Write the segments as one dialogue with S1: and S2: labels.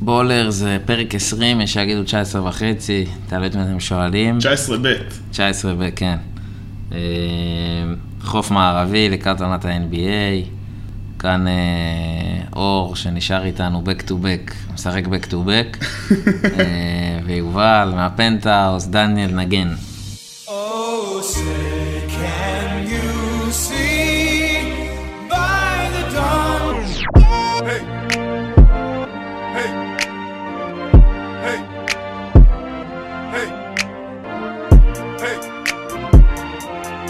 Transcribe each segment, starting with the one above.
S1: בולר זה פרק 20, יש שיגידו 19 וחצי, תלוי את מי אתם שואלים.
S2: 19 ב'.
S1: 19 וכן. אה, חוף מערבי לקראת עונת ה-NBA. כאן אה, אור שנשאר איתנו back to back, משחק back to back. אה, ויובל מהפנטהאוס, דניאל נגן.
S3: Oh, say, can you see by the dawn?
S4: Hey. Hey. Hey. Hey.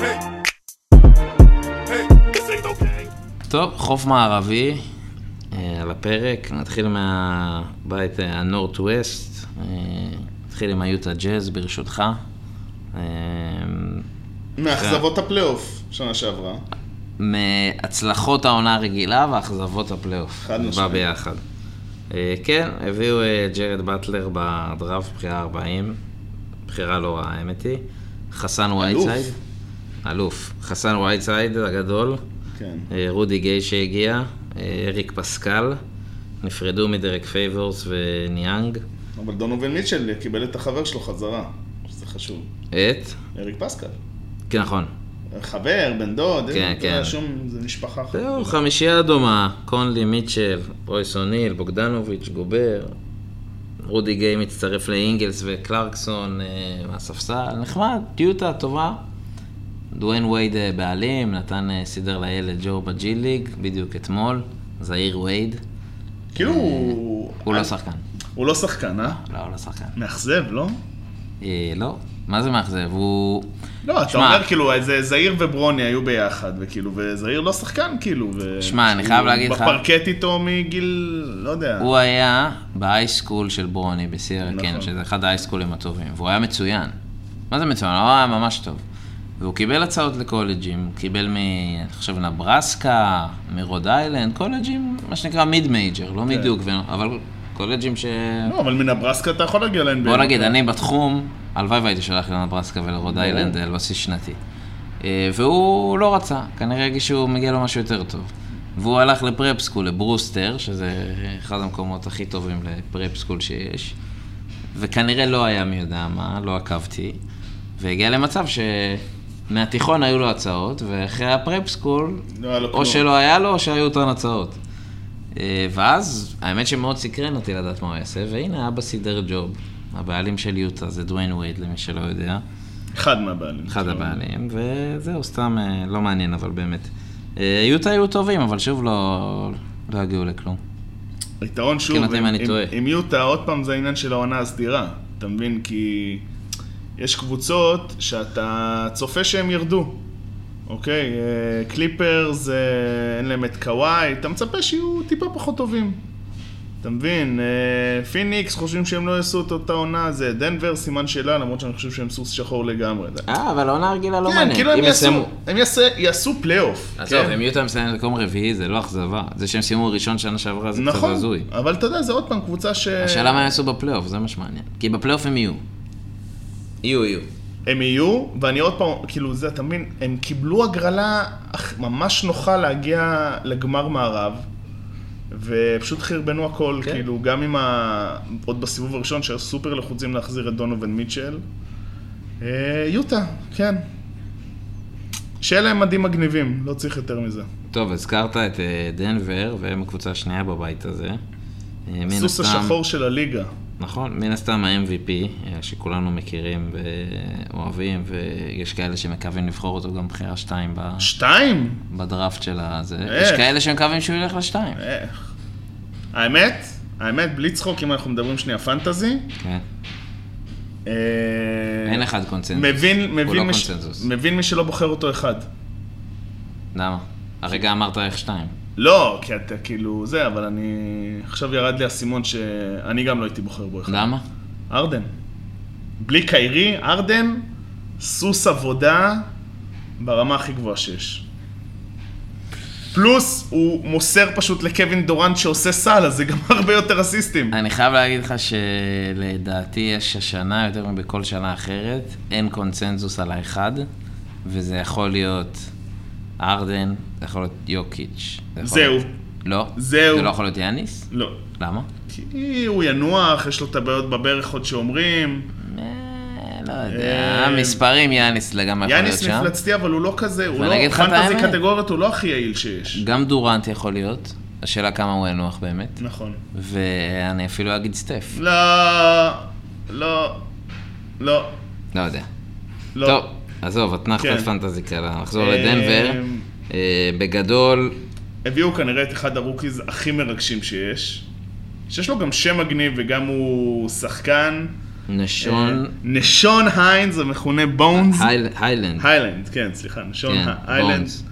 S4: Hey. Hey. Hey. This ain't okay.
S1: טוב, חוף מערבי אה, על הפרק, נתחיל מהבית אה, הנורט-ווסט, אה, נתחיל עם היוטה ג'אז ברשותך. אה,
S2: מאכזבות הפלייאוף שנה שעברה.
S1: מהצלחות העונה הרגילה ואכזבות הפלייאוף.
S2: חד
S1: זה
S2: משמעית.
S1: בא ביחד. אה, כן, הביאו אה, ג'רד באטלר בדראפט, בחירה 40, בחירה לא רעה, האמת היא. חסן וייטסייד. אלוף. חסן וייטסייד הגדול.
S2: כן.
S1: אה, רודי גיי שהגיע, אה, אריק פסקל, נפרדו מדרק פייבורס וניאנג,
S2: אבל דונובל מיטשל קיבל את החבר שלו חזרה, שזה חשוב.
S1: את,
S2: אריק פסקל.
S1: כן נכון,
S2: חבר, בן דוד,
S1: כן,
S2: אין, אתה יודע,
S1: כן.
S2: שום, זה משפחה. אחת.
S1: זהו, חמישייה דומה, קונלי, מיטשל, בויס אוניל, בוגדנוביץ', גובר, רודי גיי מצטרף לאינגלס וקלרקסון אה, מהספסל, נחמד, טיוטה טובה. דוויין וייד אה, בעלים, נתן אה, סידר לילד ג'ו בג'י ליג, בדיוק אתמול, זעיר וייד,
S2: כאילו הוא... אה,
S1: הוא לא שחקן,
S2: הוא לא שחקן, אה?
S1: לא, הוא לא שחקן.
S2: מאכזב, לא?
S1: אה, לא, מה זה מאכזב? הוא...
S2: לא, אתה
S1: שמע,
S2: אומר כאילו, איזה זעיר וברוני היו ביחד, וכאילו, וזעיר לא שחקן, כאילו. ו-
S1: שמע, אני
S2: הוא
S1: חייב להגיד לך-
S2: בפרקט איתו מגיל, לא יודע.
S1: הוא היה בהייסקול של ברוני בסיירה
S2: נכון.
S1: קן, שזה אחד ההייסקולים הטובים, והוא היה מצוין. מה זה מצוין? הוא היה ממש טוב. והוא קיבל הצעות לקולג'ים, קיבל מ... אני חושב נברסקה, מרוד איילנד, קולג'ים, מה שנקרא מיד מייג'ר, לא מידוק, ו- אבל קולג'ים ש...
S2: לא, אבל מנברסקה אתה יכול להגיע ל-NBA.
S1: בוא נגיד, אני בתחום, הלוואי והייתי שולח לנברסקה ולרוד איילנד על בסיס שנתי. אה, והוא לא רצה, כנראה הרגיש שהוא מגיע לו משהו יותר טוב. והוא הלך לפרפסקול, לברוסטר, שזה אחד המקומות הכי טובים לפרפסקול שיש, וכנראה לא היה מי יודע מה, לא עקבתי, והגיע למצב שמהתיכון היו לו הצעות, ואחרי הפרפסקול,
S2: לא היה לו
S1: או
S2: כלום.
S1: שלא היה לו, או שהיו אותן הצעות. אה, ואז, האמת שמאוד סקרן אותי לדעת מה הוא יעשה, והנה אבא סידר ג'וב. הבעלים של יוטה זה דוויין וייד, למי שלא יודע.
S2: אחד מהבעלים.
S1: אחד
S2: שלו.
S1: הבעלים, וזהו, סתם אה, לא מעניין, אבל באמת. אה, יוטה היו טובים, אבל שוב לא לא הגיעו לכלום.
S2: היתרון שוב,
S1: אותי אם
S2: עם-
S1: אני
S2: עם-
S1: טועה.
S2: עם יוטה, עוד פעם זה העניין של העונה הסדירה, אתה מבין? כי יש קבוצות שאתה צופה שהם ירדו, אוקיי? אה, קליפרס, אה, אין להם את קוואי, אתה מצפה שיהיו טיפה פחות טובים. אתה מבין? אה, פיניקס חושבים שהם לא יעשו את אותה עונה, זה דנבר סימן שאלה, למרות שאני חושב שהם סוס שחור לגמרי.
S1: אה, אבל העונה הרגילה לא מעניינת.
S2: כן, כאילו הם
S1: אם
S2: יעשו,
S1: יסיימו-
S2: הם יעשה- יעשו פלייאוף.
S1: עזוב,
S2: כן?
S1: אם יוטה מסיימת מקום רביעי, זה לא אכזבה. זה שהם סיימו ראשון שנה שעברה זה קצת
S2: נכון, אה.
S1: הזוי.
S2: אבל אתה יודע, זה עוד פעם קבוצה ש...
S1: השאלה מה הם יעשו בפלייאוף, זה מה שמעניין. כי בפלייאוף הם יהיו. יהיו, יהיו.
S2: הם יהיו, ואני עוד פעם, כאילו זה, אתה מבין, הם קיבלו הגרלה אך- ממש נוחה להגיע לגמר מערב, ופשוט חרבנו הכל,
S1: כן.
S2: כן. כאילו, גם עם ה... עוד בסיבוב הראשון, שהיו סופר לחוצים להחזיר את דונובין מיטשל. אה, יוטה, כן. שיהיה להם מדים מגניבים, לא צריך יותר מזה.
S1: טוב, הזכרת את אה, דנבר, והם הקבוצה השנייה בבית הזה. אה, מן
S2: הסוס
S1: הסתם-
S2: השחור של הליגה.
S1: נכון, מן הסתם ה-MVP, אה, שכולנו מכירים ואוהבים, ויש כאלה שמקווים לבחור אותו גם בחירה שתיים ב-
S2: שתיים?
S1: בדראפט של הזה.
S2: איך?
S1: יש כאלה שמקווים שהוא ילך לשתיים.
S2: אה. איך? האמת, האמת, בלי צחוק, אם אנחנו מדברים שנייה פנטזי,
S1: כן.
S2: אה,
S1: אין אחד קונצנזוס.
S2: מבין,
S1: הוא לא
S2: מבין, מי ש...
S1: קונצנזוס.
S2: מבין מי שלא בוחר אותו אחד.
S1: למה? הרגע אמרת איך שתיים.
S2: לא, כי אתה כאילו זה, אבל אני... עכשיו ירד לי האסימון שאני גם לא הייתי בוחר בו אחד.
S1: למה?
S2: ארדן. בלי קיירי, ארדן, סוס עבודה ברמה הכי גבוהה שיש. פלוס, הוא מוסר פשוט לקווין דורנט שעושה סל, אז זה גם הרבה יותר אסיסטים.
S1: אני חייב להגיד לך שלדעתי יש השנה, יותר מבכל שנה אחרת, אין קונצנזוס על האחד, וזה יכול להיות ארדן, זה יכול להיות יוקיץ'. זה יכול
S2: זהו.
S1: להיות- לא.
S2: זהו.
S1: זה לא יכול להיות יאניס?
S2: לא.
S1: למה?
S2: כי הוא ינוח, יש לו את הבעיות בברך עוד שאומרים.
S1: אה, לא
S2: אה,
S1: יודע, המספרים יאניס לגמרי יכול להיות
S2: יאניס
S1: שם.
S2: מפלצתי, אבל הוא לא כזה, הוא
S1: ואני
S2: לא,
S1: אגיד לך את
S2: פנטזי
S1: האמת.
S2: קטגוריות הוא לא הכי יעיל שיש.
S1: גם דורנט יכול להיות, השאלה כמה הוא ינוח באמת.
S2: נכון.
S1: ואני אפילו אגיד סטף.
S2: לא, לא, לא,
S1: לא יודע.
S2: לא.
S1: טוב, עזוב, אתנחת
S2: כן.
S1: פנטזי קלה, נחזור
S2: אה,
S1: לדנבר. אה, בגדול,
S2: הביאו כנראה את אחד הרוקיז הכי מרגשים שיש, שיש לו גם שם מגניב וגם הוא שחקן.
S1: נשון
S2: אה, נשון היינז המכונה בונז.
S1: הייל- היילנד.
S2: היילנד, כן, סליחה, נשון
S1: כן,
S2: היילנד,
S1: בונז.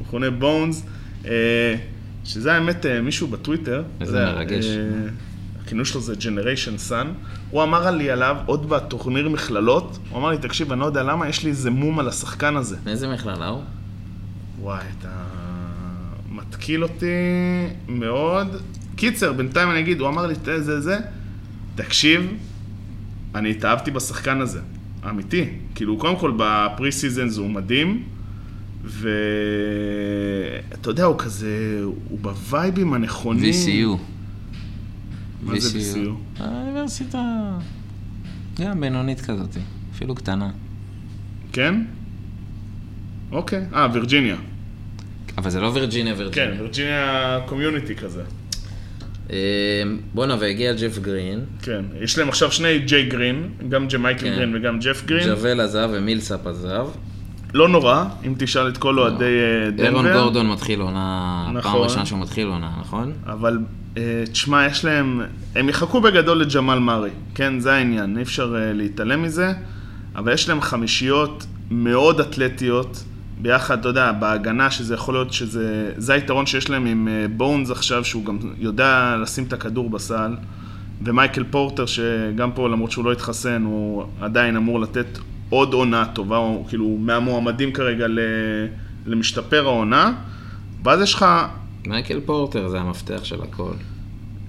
S2: מכונה בונז, אה, שזה האמת אה, מישהו בטוויטר,
S1: איזה
S2: זה,
S1: מרגש.
S2: אה, הכינוי שלו זה Generation Sun, הוא אמר לי עליו עוד בתוכניר מכללות, הוא אמר לי, תקשיב, אני לא יודע למה, יש לי איזה מום על השחקן הזה.
S1: מאיזה מכללה הוא?
S2: וואי, אתה מתקיל אותי מאוד. קיצר, בינתיים אני אגיד, הוא אמר לי, "תה, זה, זה, תקשיב, אני התאהבתי בשחקן הזה, אמיתי. כאילו, קודם כל, בפרי סיזנס הוא מדהים, ואתה יודע, הוא כזה, הוא בווייבים הנכונים.
S1: VCU.
S2: Mm. מה זה VCU?
S1: האוניברסיטה... גם בינונית כזאת, אפילו קטנה.
S2: כן? אוקיי. אה, וירג'יניה.
S1: אבל זה לא וירג'יניה וירג'יניה.
S2: כן, וירג'יניה קומיוניטי כזה.
S1: אה, בואנה, והגיע ג'ף גרין,
S2: כן. יש להם עכשיו שני ג'יי גרין, גם ג'מייקל
S1: כן.
S2: גרין וגם ג'ף גרין.
S1: ג'וול עזב ומילסאפ עזב.
S2: לא נורא, אם תשאל את כל אוהדי אה,
S1: אירון
S2: דנבר.
S1: גורדון מתחיל עונה, פעם
S2: נכון.
S1: ראשונה שהוא מתחיל עונה, נכון?
S2: אבל אה, תשמע, יש להם... הם יחכו בגדול לג'מאל מארי, כן? זה העניין, אי אפשר אה, להתעלם מזה. אבל יש להם חמישיות מאוד אתלטיות, ביחד, אתה יודע, בהגנה, שזה יכול להיות שזה... זה היתרון שיש להם עם אה, בונז עכשיו, שהוא גם יודע לשים את הכדור בסל. ומייקל פורטר, שגם פה, למרות שהוא לא התחסן, הוא עדיין אמור לתת עוד עונה טובה, הוא כאילו הוא מהמועמדים כרגע ל... למשתפר העונה. ואז יש לך
S1: מייקל פורטר זה המפתח של הכל.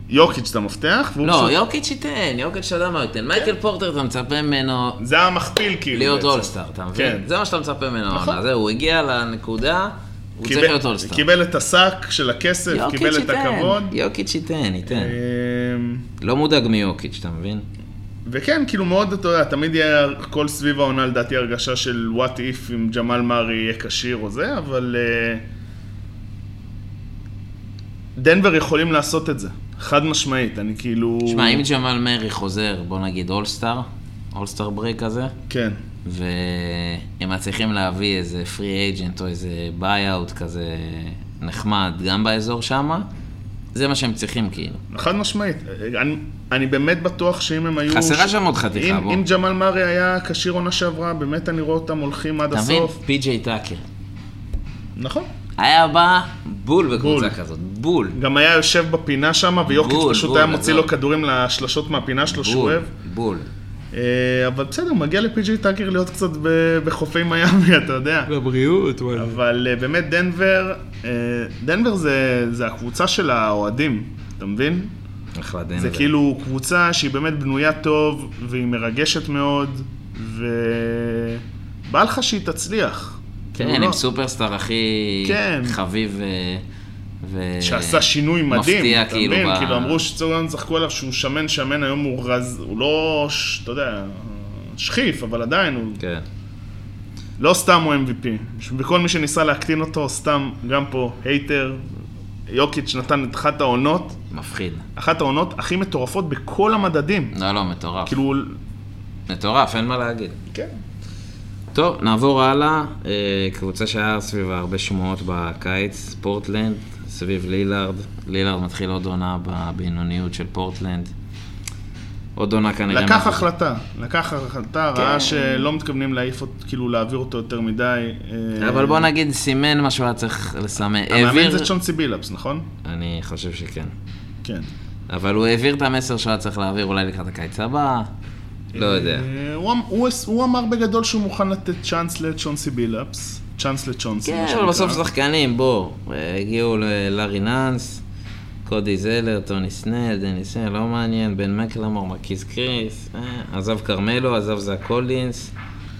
S2: יוקיץ' זה המפתח, והוא
S1: לא,
S2: פשוט-
S1: יוקיץ' ייתן, יוקיץ' לא אדם מרקטן. מייקל פורטר, אתה מצפה ממנו
S2: זה המכפיל כאילו.
S1: להיות
S2: בעצם.
S1: אולסטאר, אתה מבין?
S2: כן.
S1: זה מה שאתה מצפה ממנו.
S2: נכון.
S1: העונה. זהו, הוא הגיע לנקודה, הוא צריך
S2: קיבל-
S1: להיות אולסטאר.
S2: קיבל את השק של הכסף, קיבל את הכבוד.
S1: יוקיץ' ייתן, ייתן.
S2: אמ,
S1: לא מודאג מיוקיץ', אתה מבין?
S2: וכן, כאילו מאוד, אתה יודע, תמיד יהיה הכל סביב העונה לדעתי הרגשה של what if אם ג'מאל מארי יהיה כשיר או זה, אבל... אה, דנבר יכולים לעשות את זה, חד משמעית, אני כאילו...
S1: שמע, אם ג'מאל מרי חוזר, בוא נגיד אולסטאר, אולסטאר ברייק כזה,
S2: כן,
S1: והם מצליחים להביא איזה פרי אייג'נט או איזה ביי-אוט כזה נחמד, גם באזור שמה, זה מה שהם צריכים כאילו.
S2: נכון. חד משמעית. אה, אני, אני באמת בטוח שאם הם היו...
S1: חסרה שם עוד חתיכה,
S2: אם-
S1: בוא.
S2: אם ג'מאל מארי היה כשיר עונה שעברה, באמת אני רואה אותם הולכים עד
S1: אתה מבין?
S2: הסוף.
S1: פי.ג'יי טאקר.
S2: נכון.
S1: היה בא בול בקבוצה
S2: בול.
S1: כזאת, בול.
S2: גם היה יושב בפינה שם, ויוקיץ'
S1: בול,
S2: פשוט
S1: בול,
S2: היה מוציא
S1: עזוב.
S2: לו כדורים לשלשות מהפינה שלו שהוא
S1: בול,
S2: אוהב.
S1: בול.
S2: אה, אבל בסדר, מגיע לפי.ג'יי טאקר להיות קצת ב- בחופי מיאמי, אתה יודע.
S3: לא.
S1: לבריאות,
S2: אבל אה, באמת, דנבר, אה, דנבר זה זה הקבוצה של האוהדים, אתה מבין?
S1: אחלה דנבר.
S2: זה כאילו קבוצה שהיא באמת בנויה טוב, והיא מרגשת מאוד, ובא לך שהיא תצליח.
S1: כן,
S2: כאילו,
S1: עם
S2: לא.
S1: סופרסטאר הכי
S2: כן.
S1: חביב ו... ו...
S2: שעשה שינוי מדהים,
S1: אה, מפתיע,
S2: אתה
S1: כאילו,
S2: מבין?
S1: ב-
S2: כאילו אמרו שצוריון צחקו עליו שהוא שמן שמן, היום הוא רז, הוא לא, ש- אתה יודע, שכיף, אבל עדיין הוא,
S1: כן.
S2: לא סתם הוא MVP. וכל מי שניסה להקטין אותו, סתם, גם פה, הייטר, יוקיץ' נתן את אחת העונות,
S1: מפחיד.
S2: אחת העונות הכי מטורפות בכל המדדים.
S1: לא, לא, מטורף.
S2: כאילו,
S1: מטורף, אין מה להגיד.
S2: כן.
S1: טוב, נעבור הלאה. אה, קבוצה שהיה סביבה הרבה שמועות בקיץ, פורטלנד, סביב לילארד. לילארד מתחיל עוד עונה בבינוניות של פורטלנד. עוד עונה כנראה...
S2: לקח
S1: מה-
S2: החלטה, לקח החלטה, ראה שלא מתכוונים להעיף אותו, כאילו להעביר אותו יותר מדי. אה,
S1: אבל בוא נגיד, סימן מה שהוא היה צריך לסמן.
S2: המאמן
S1: העביר...
S2: זה צ'ונסי בילאפס, נכון?
S1: אני חושב שכן.
S2: כן.
S1: אבל הוא העביר את המסר שהוא היה צריך להעביר אולי לקראת הקיץ הבא. לא יודע.
S2: אה, הוא, אמ- הוא, הס- הוא אמר בגדול שהוא מוכן לתת צ'אנס לצ'ונסי בילאפס. צ'אנס לצ'ונסי,
S1: כן,
S2: מה
S1: אבל
S2: שנקרא.
S1: בסוף שחקנים, בוא. אה, הגיעו ללארי נאנס, קודי זלר, טוני סנל, דניס, אה, לא מעניין, בן מקלמור, מקיס קריס, אה, עזב כרמלו, עזב זק קולינס,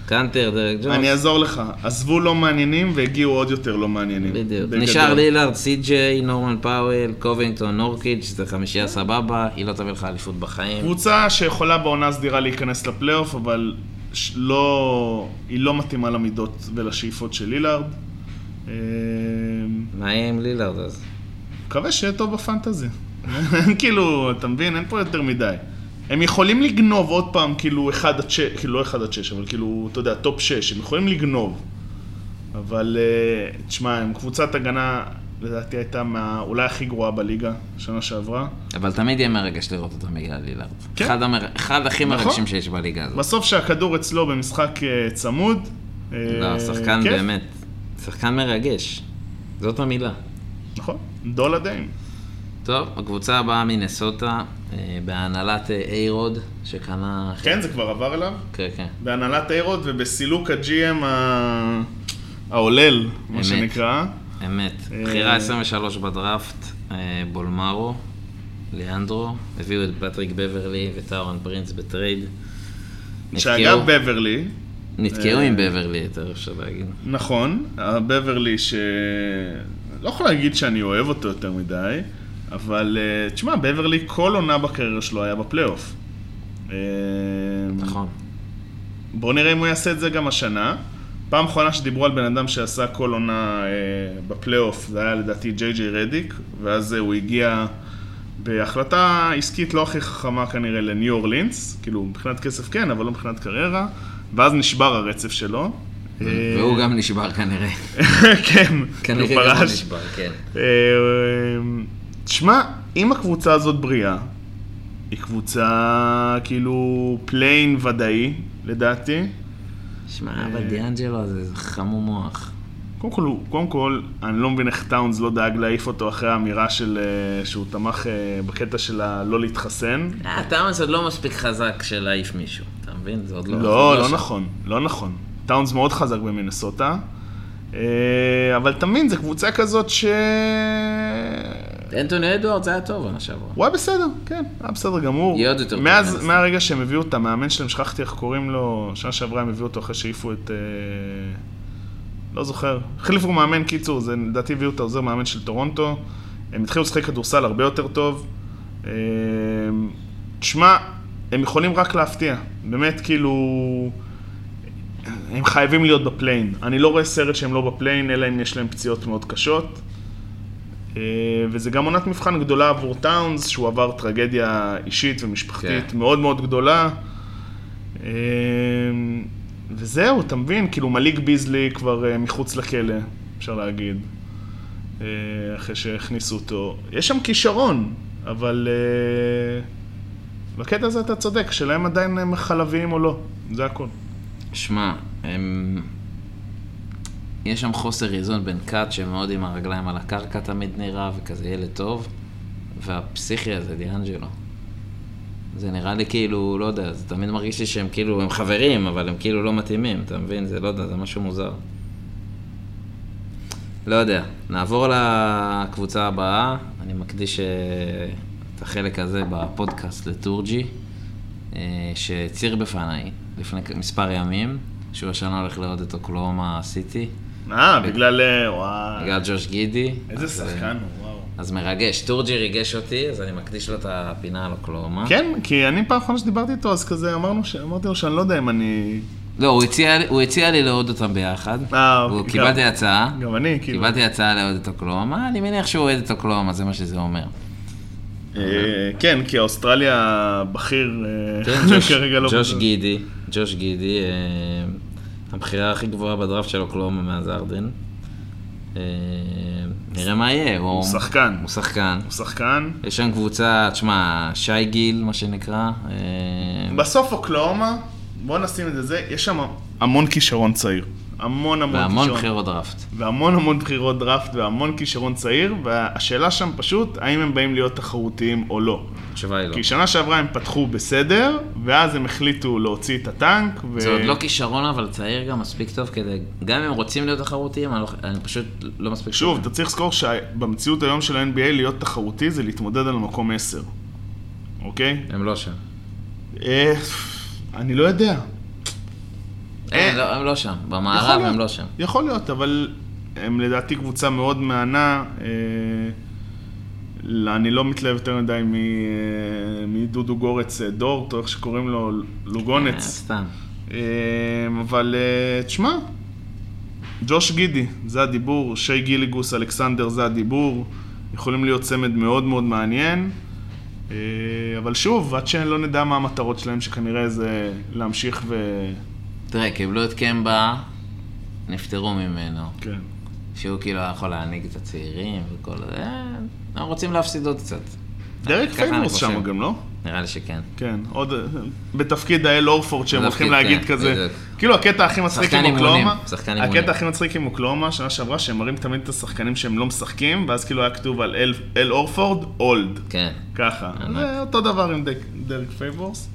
S1: קנטר, דרק ג'ונס.
S2: אני אעזור לך. עזבו לא מעניינים והגיעו עוד יותר לא מעניינים.
S1: בדיוק.
S2: בגדול.
S1: נשאר לילארד, סי.ג'יי, נורמן פאוול, קובינגטון, נורקיץ', זה חמישייה סבבה, היא לא תביא לך אליפות בחיים.
S2: קבוצה שיכולה בעונה הסדירה להיכנס לפלייאוף, אבל ש- לא, היא לא מתאימה למידות ולשאיפות של לילארד. אה,
S1: מה יהיה עם לילארד אז?
S2: מקווה שיהיה טוב בפנטזי. כאילו, אתה מבין, אין פה יותר מדי. הם יכולים לגנוב עוד פעם, כאילו, 1 עד 6, כאילו, לא 1 עד 6, אבל כאילו, אתה יודע, טופ 6, הם יכולים לגנוב. אבל, אה, תשמע, הם קבוצת הגנה, לדעתי, הייתה מה, אולי הכי גרועה בליגה, שנה שעברה.
S1: אבל תמיד יהיה מרגש לראות אותה מגיעה לילארד.
S2: כן.
S1: אחד המר- אחד הכי
S2: נכון.
S1: מרגשים שיש בליגה הזאת.
S2: בסוף שהכדור אצלו במשחק אה, צמוד. אה,
S1: לא, שחקן
S2: כיף.
S1: באמת, שחקן מרגש. זאת המילה.
S2: נכון, דולה דיים.
S1: טוב, הקבוצה הבאה מנסוטה, אה, בהנהלת אה, איירוד, שקנה...
S2: כן, זה כבר עבר אליו.
S1: כן, כן.
S2: בהנהלת איירוד ובסילוק הג'י.אם ה- העולל, מה
S1: אמת.
S2: שנקרא.
S1: אמת.
S2: אה,
S1: בחירה 23 בדראפט, אה, בולמרו, ליאנדרו, הביאו את פטריק בברלי וטאורן פרינס בטרייד.
S2: שאגב,
S1: נתקעו-
S2: בברלי,
S1: נתקעו
S2: אה,
S1: עם בברלי, יותר אפשר להגיד.
S2: נכון, בברלי ש... לא יכול להגיד שאני אוהב אותו יותר מדי, אבל אה, תשמע, בברלי כל עונה בקריירה שלו היה בפלייאוף. אה,
S1: נכון.
S2: בואו נראה אם הוא יעשה את זה גם השנה. פעם אחרונה שדיברו על בן אדם שעשה כל עונה אה, בפלייאוף, זה היה לדעתי ג'יי ג'יי רדיק, ואז אה, הוא הגיע בהחלטה עסקית לא הכי חכמה כנראה לניו אורלינס, כאילו מבחינת כסף כן, אבל לא מבחינת קריירה, ואז נשבר הרצף שלו. אה,
S1: והוא גם נשבר כנראה.
S2: כן, הוא
S1: כנראה גם הוא
S2: פרש.
S1: נשבר, כן.
S2: אה, תשמע, אם הקבוצה הזאת בריאה, היא קבוצה כאילו פליין ודאי, לדעתי.
S1: שמע, אבל דיאנג'לו הזה זה חמום מוח.
S2: קודם כל, הוא- קודם כל, אני לא מבין איך טאונס לא דאג להעיף אותו אחרי האמירה של, אה, שהוא תמך אה, בקטע של הלא להתחסן.
S1: אה, טאונס עוד לא מספיק חזק של להעיף מישהו, אתה מבין? זה עוד לא...
S2: לא,
S1: זה
S2: לא
S1: שם.
S2: נכון, לא נכון. טאונס מאוד חזק במינסוטה, אה, אבל תמיד זו קבוצה כזאת ש...
S1: אנטוני אדוארד זה היה טוב עונה שעברה.
S2: הוא היה בסדר, כן, היה בסדר גמור.
S1: יהיה עוד יותר טוב כן.
S2: מאז-
S1: מהמנסוטה.
S2: מהרגע שהם הביאו את המאמן שלהם, שכחתי איך קוראים לו, שנה שעברה הם הביאו אותו אחרי שהעיפו את... אה, לא זוכר. החליפו מאמן, קיצור, זה לדעתי הביאו את העוזר מאמן של טורונטו. הם התחילו לשחק כדורסל הרבה יותר טוב. אה, תשמע, הם יכולים רק להפתיע. באמת, כאילו... הם חייבים להיות בפליין. אני לא רואה סרט שהם לא בפליין, אלא אם יש להם פציעות מאוד קשות. אה, וזה גם עונת מבחן גדולה עבור טאונס, שהוא עבר טרגדיה אישית ומשפחתית
S1: כן.
S2: מאוד מאוד גדולה. אה, וזהו, אתה מבין? כאילו מליק ביזלי כבר אה, מחוץ לכלא, אפשר להגיד, אה, אחרי שהכניסו אותו. יש שם כישרון, אבל אה, בקטע הזה אתה צודק, שלהם עדיין הם חלביים או לא, זה הכל.
S1: שמע, הם... יש שם חוסר איזון בין קאט שמאוד עם הרגליים על הקרקע תמיד נראה, וכזה ילד טוב, והפסיכי הזה, דיאנג'לו. זה נראה לי כאילו, לא יודע, זה תמיד מרגיש לי שהם כאילו, הם חברים, אבל הם כאילו לא מתאימים, אתה מבין? זה לא יודע, זה משהו מוזר. לא יודע, נעבור לקבוצה הבאה, אני מקדיש אה, את החלק הזה בפודקאסט לטורג'י, אה, שהצהיר בפניי לפני כ- מספר ימים, שהוא השנה הולך לראות את אוקלאומה סיטי,
S2: אה, בגלל... אה, וואי.
S1: בגלל ג'וש גידי.
S2: איזה
S1: אז,
S2: שחקן הוא, וואו.
S1: אה, אז מרגש, טורג'י ריגש אותי, אז אני מקדיש לו את הפינה על אוקלאומה.
S2: כן, כי אני פעם אחרונה שדיברתי איתו, אז כזה אמרנו ש... אמרתי לו שאני לא יודע אם אני...
S1: לא, הוא הציע, לי- הוא הציע לי להוריד אותם ביחד.
S2: אה,
S1: הוא-
S2: אוקיי,
S1: קיבלתי
S2: גם-
S1: הצעה.
S2: גם אני, כאילו.
S1: קיבלתי הצעה לאוהד את אוקלאומה, אני מניח שהוא אוהד את אוקלאומה, זה מה שזה אומר.
S2: אה, כן, כי אוסטרליה בכיר אה,
S1: אוקיי. כן, ג'וש-
S2: כרגע לא...
S1: ג'וש גידי, ג'וש גידי, אה, הבחירה הכי גבוהה בדראפט של אוקלאומה מאז ארדן. אה, נראה מה יהיה. הוא
S2: שחקן.
S1: הוא שחקן.
S2: הוא שחקן.
S1: יש שם קבוצה, תשמע, שי גיל, מה שנקרא. אה,
S2: בסוף אוקלאומה, בוא נשים את זה, זה, יש שם המון כישרון צעיר. המון המון
S1: והמון
S2: כישרון.
S1: בחירות דראפט.
S2: והמון המון בחירות דראפט והמון כישרון צעיר, והשאלה שם פשוט, האם הם באים להיות תחרותיים או לא.
S1: התשובה היא לא.
S2: כי שנה שעברה הם פתחו בסדר, ואז הם החליטו להוציא את הטנק. ו-
S1: זה עוד לא כישרון, אבל צעיר גם מספיק טוב כדי... גם אם הם רוצים להיות תחרותיים, אני, לא, אני פשוט לא מספיק...
S2: שוב,
S1: טוב.
S2: אתה צריך לזכור שבמציאות היום של ה-NBA להיות תחרותי זה להתמודד על מקום 10, אוקיי?
S1: הם לא שם.
S2: אה, אני לא יודע.
S1: אין, לא, הם לא שם.
S2: יכול
S1: במערב הם
S2: להיות,
S1: לא שם.
S2: יכול להיות, אבל הם לדעתי קבוצה מאוד מהנה. אה, לא, אני לא מתלהב יותר מדי מ- אה, מדודו גורץ אה, דורט, או איך שקוראים לו,
S1: אה,
S2: לוגונץ.
S1: סתם.
S2: אה, אבל אה, תשמע, ג'וש גידי, זה הדיבור, שי גיליגוס, אלכסנדר, זה הדיבור. יכולים להיות צמד מאוד מאוד מעניין. אה, אבל שוב, עד שלא נדע מה המטרות שלהם, שכנראה זה להמשיך ו...
S1: תראה, קיבלו את קמבה, נפטרו ממנו.
S2: כן.
S1: שהוא כאילו היה יכול להנהיג את הצעירים וכל זה. אה, הם רוצים להפסיד עוד קצת.
S2: דרק
S1: ככה אני
S2: פיינורס שם
S1: חושב.
S2: גם, לא?
S1: נראה לי שכן.
S2: כן, עוד בתפקיד האל אורפורד שהם
S1: בתפקיד,
S2: הולכים להגיד
S1: כן,
S2: כזה.
S1: בדיוק.
S2: כאילו הקטע הכי מצחיק
S1: שחקן
S2: עם
S1: אימונים,
S2: אוקלאומה,
S1: שחקן אימונים.
S2: הקטע הכי מצחיק עם אוקלאומה, שנה שעברה שהם מראים תמיד את השחקנים שהם לא משחקים, ואז כאילו היה כתוב על אל- אל אורפורד אולד,
S1: כן.
S2: ככה.
S1: ענק.
S2: זה אותו דבר עם דק- דרק פייבורס.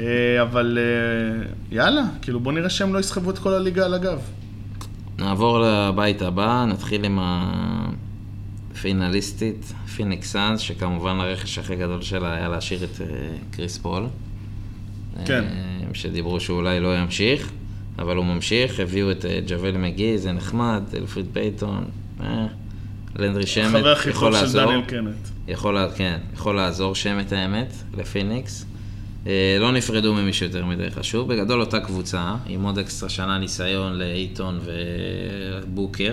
S2: אה, אבל אה, יאללה, כאילו בוא נראה שהם לא יסחבו את כל הליגה על הגב.
S1: נעבור לבית הבא, נתחיל עם הפינליסטית, פיניקס סאנס, שכמובן הרכש הכי גדול שלה היה להשאיר את אה, קריס פול.
S2: כן.
S1: אה, שדיברו שאולי לא ימשיך, אבל הוא ממשיך, הביאו את אה, ג'וול מגי, זה נחמד, אלפריד פייתון, אה, לנדרי שמט,
S2: חבר הכי
S1: כן, יכול
S2: טוב של
S1: לעזור.
S2: דניאל קנט.
S1: יכול, לה- כן, יכול לעזור שם את האמת לפיניקס. אה, לא נפרדו ממישהו יותר מדי חשוב. בגדול אותה קבוצה, עם עוד אקסטרה שנה ניסיון לאיתון ובוקר.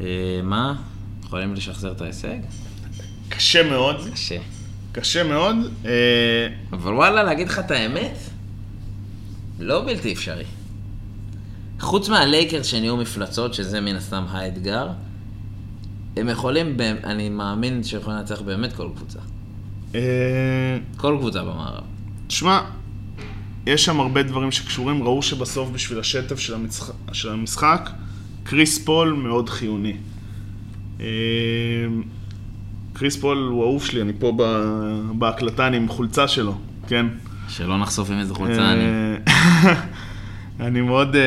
S1: אה, מה? יכולים לשחזר את ההישג?
S2: קשה מאוד,
S1: קשה.
S2: קשה מאוד. אה,
S1: אבל וואלה, להגיד לך את האמת? לא בלתי אפשרי. חוץ מהלייקרס שנהיו מפלצות, שזה מן הסתם האתגר, הם יכולים, באמ- אני מאמין שיכולים לנצח באמת כל קבוצה.
S2: אה,
S1: כל קבוצה במערב.
S2: תשמע, יש שם הרבה דברים שקשורים, ראו שבסוף בשביל השטף של המשחק, של המשחק קריס פול מאוד חיוני. אה, קריס פול הוא אהוב שלי, אני פה ב- בהקלטה, אני עם חולצה שלו, כן?
S1: שלא נחשוף עם איזה חולצה אני.
S2: אה, אני מאוד, אה,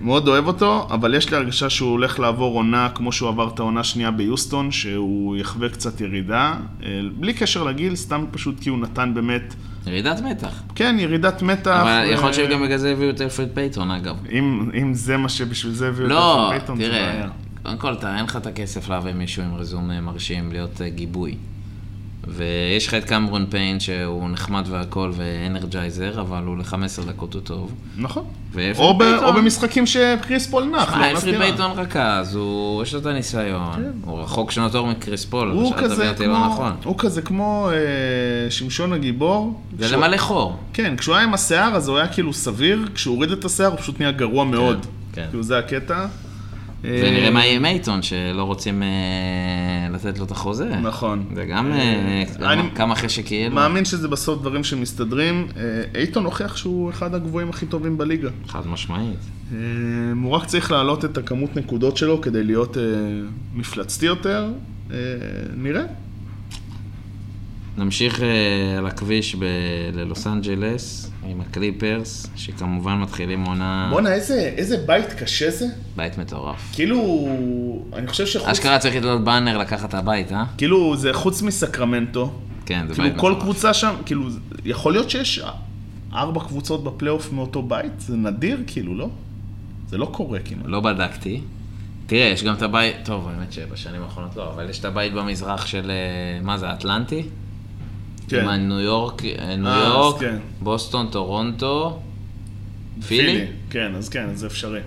S2: מאוד אוהב אותו, אבל יש לי הרגשה שהוא הולך לעבור עונה כמו שהוא עבר את העונה השנייה ביוסטון, שהוא יחווה קצת ירידה, אה, בלי קשר לגיל, סתם פשוט כי הוא נתן באמת...
S1: ירידת מתח.
S2: כן, ירידת מתח.
S1: אבל
S2: ו-
S1: יכול להיות שגם בגלל זה הביאו את אלפרד פייתון, אגב.
S2: אם, אם זה מה שבשביל זה הביאו
S1: לא,
S2: פייתון, זה
S1: תראה,
S2: בעיה.
S1: קודם כל, אתה אין לך את הכסף להביא מישהו עם רזומה מרשים להיות אה, גיבוי. ויש לך את קמרון פיין שהוא נחמד והכל ואנרג'ייזר, אבל הוא ל-15 דקות הוא טוב.
S2: נכון.
S1: ואלפרד
S2: או, ב,
S1: אה, פייתון-
S2: או במשחקים שקריס פול נח,
S1: אה,
S2: לא
S1: אלפריד
S2: מסתירה.
S1: פייתון רכז, הוא- יש לו את הניסיון. הוא רחוק שנות אור מקריס פול,
S2: הוא
S1: שאלת
S2: כזה
S1: אותי
S2: כמו,
S1: לא נכון.
S2: הוא כזה כמו אה, שמשון הגיבור.
S1: זה
S2: כשהוא-
S1: למלא חור.
S2: כן, כשהוא היה עם השיער אז הוא היה כאילו סביר, כשהוא הוריד את השיער הוא פשוט נהיה גרוע מאוד.
S1: כן.
S2: כאילו זה הקטע.
S1: ונראה
S2: אה,
S1: מה יהיה עם אייטון, שלא רוצים אה, לתת לו את החוזה.
S2: נכון.
S1: זה גם אה,
S2: אה, אני-
S1: כמה- כמה חשק יהיה לו.
S2: מאמין שזה בסוף דברים שמסתדרים. אה, אייטון הוכיח שהוא אחד הגבוהים הכי טובים בליגה.
S1: חד משמעית.
S2: אה, הוא רק צריך להעלות את הכמות נקודות שלו כדי להיות אה, מפלצתי יותר. אה, נראה.
S1: נמשיך אה, על הכביש ב- ללוס אנג'לס עם הקליפרס, שכמובן מתחילים עונה...
S2: בואנה, איזה, איזה בית קשה זה.
S1: בית מטורף.
S2: כאילו, אני חושב שחוץ...
S1: אשכרה צריך לתלות באנר לקחת את הבית, אה?
S2: כאילו, זה חוץ מסקרמנטו.
S1: כן, זה בית
S2: כאילו, כל
S1: מטורף.
S2: קבוצה שם, כאילו, יכול להיות שיש ארבע קבוצות בפלייאוף מאותו בית? זה נדיר, כאילו, לא? זה לא קורה כמעט.
S1: לא בדקתי. תראה, יש גם את הבית, טוב, האמת שבשנים האחרונות לא, אבל יש את הבית במזרח של, אה, מה זה, אטלנטי? לא, עם הניו יורק, אה, ניו
S2: כן. אה, אז
S1: יורק,
S2: כן.
S1: בוסטון, טורונטו, פילי.
S2: כן, אז כן, אז זה אפשרי.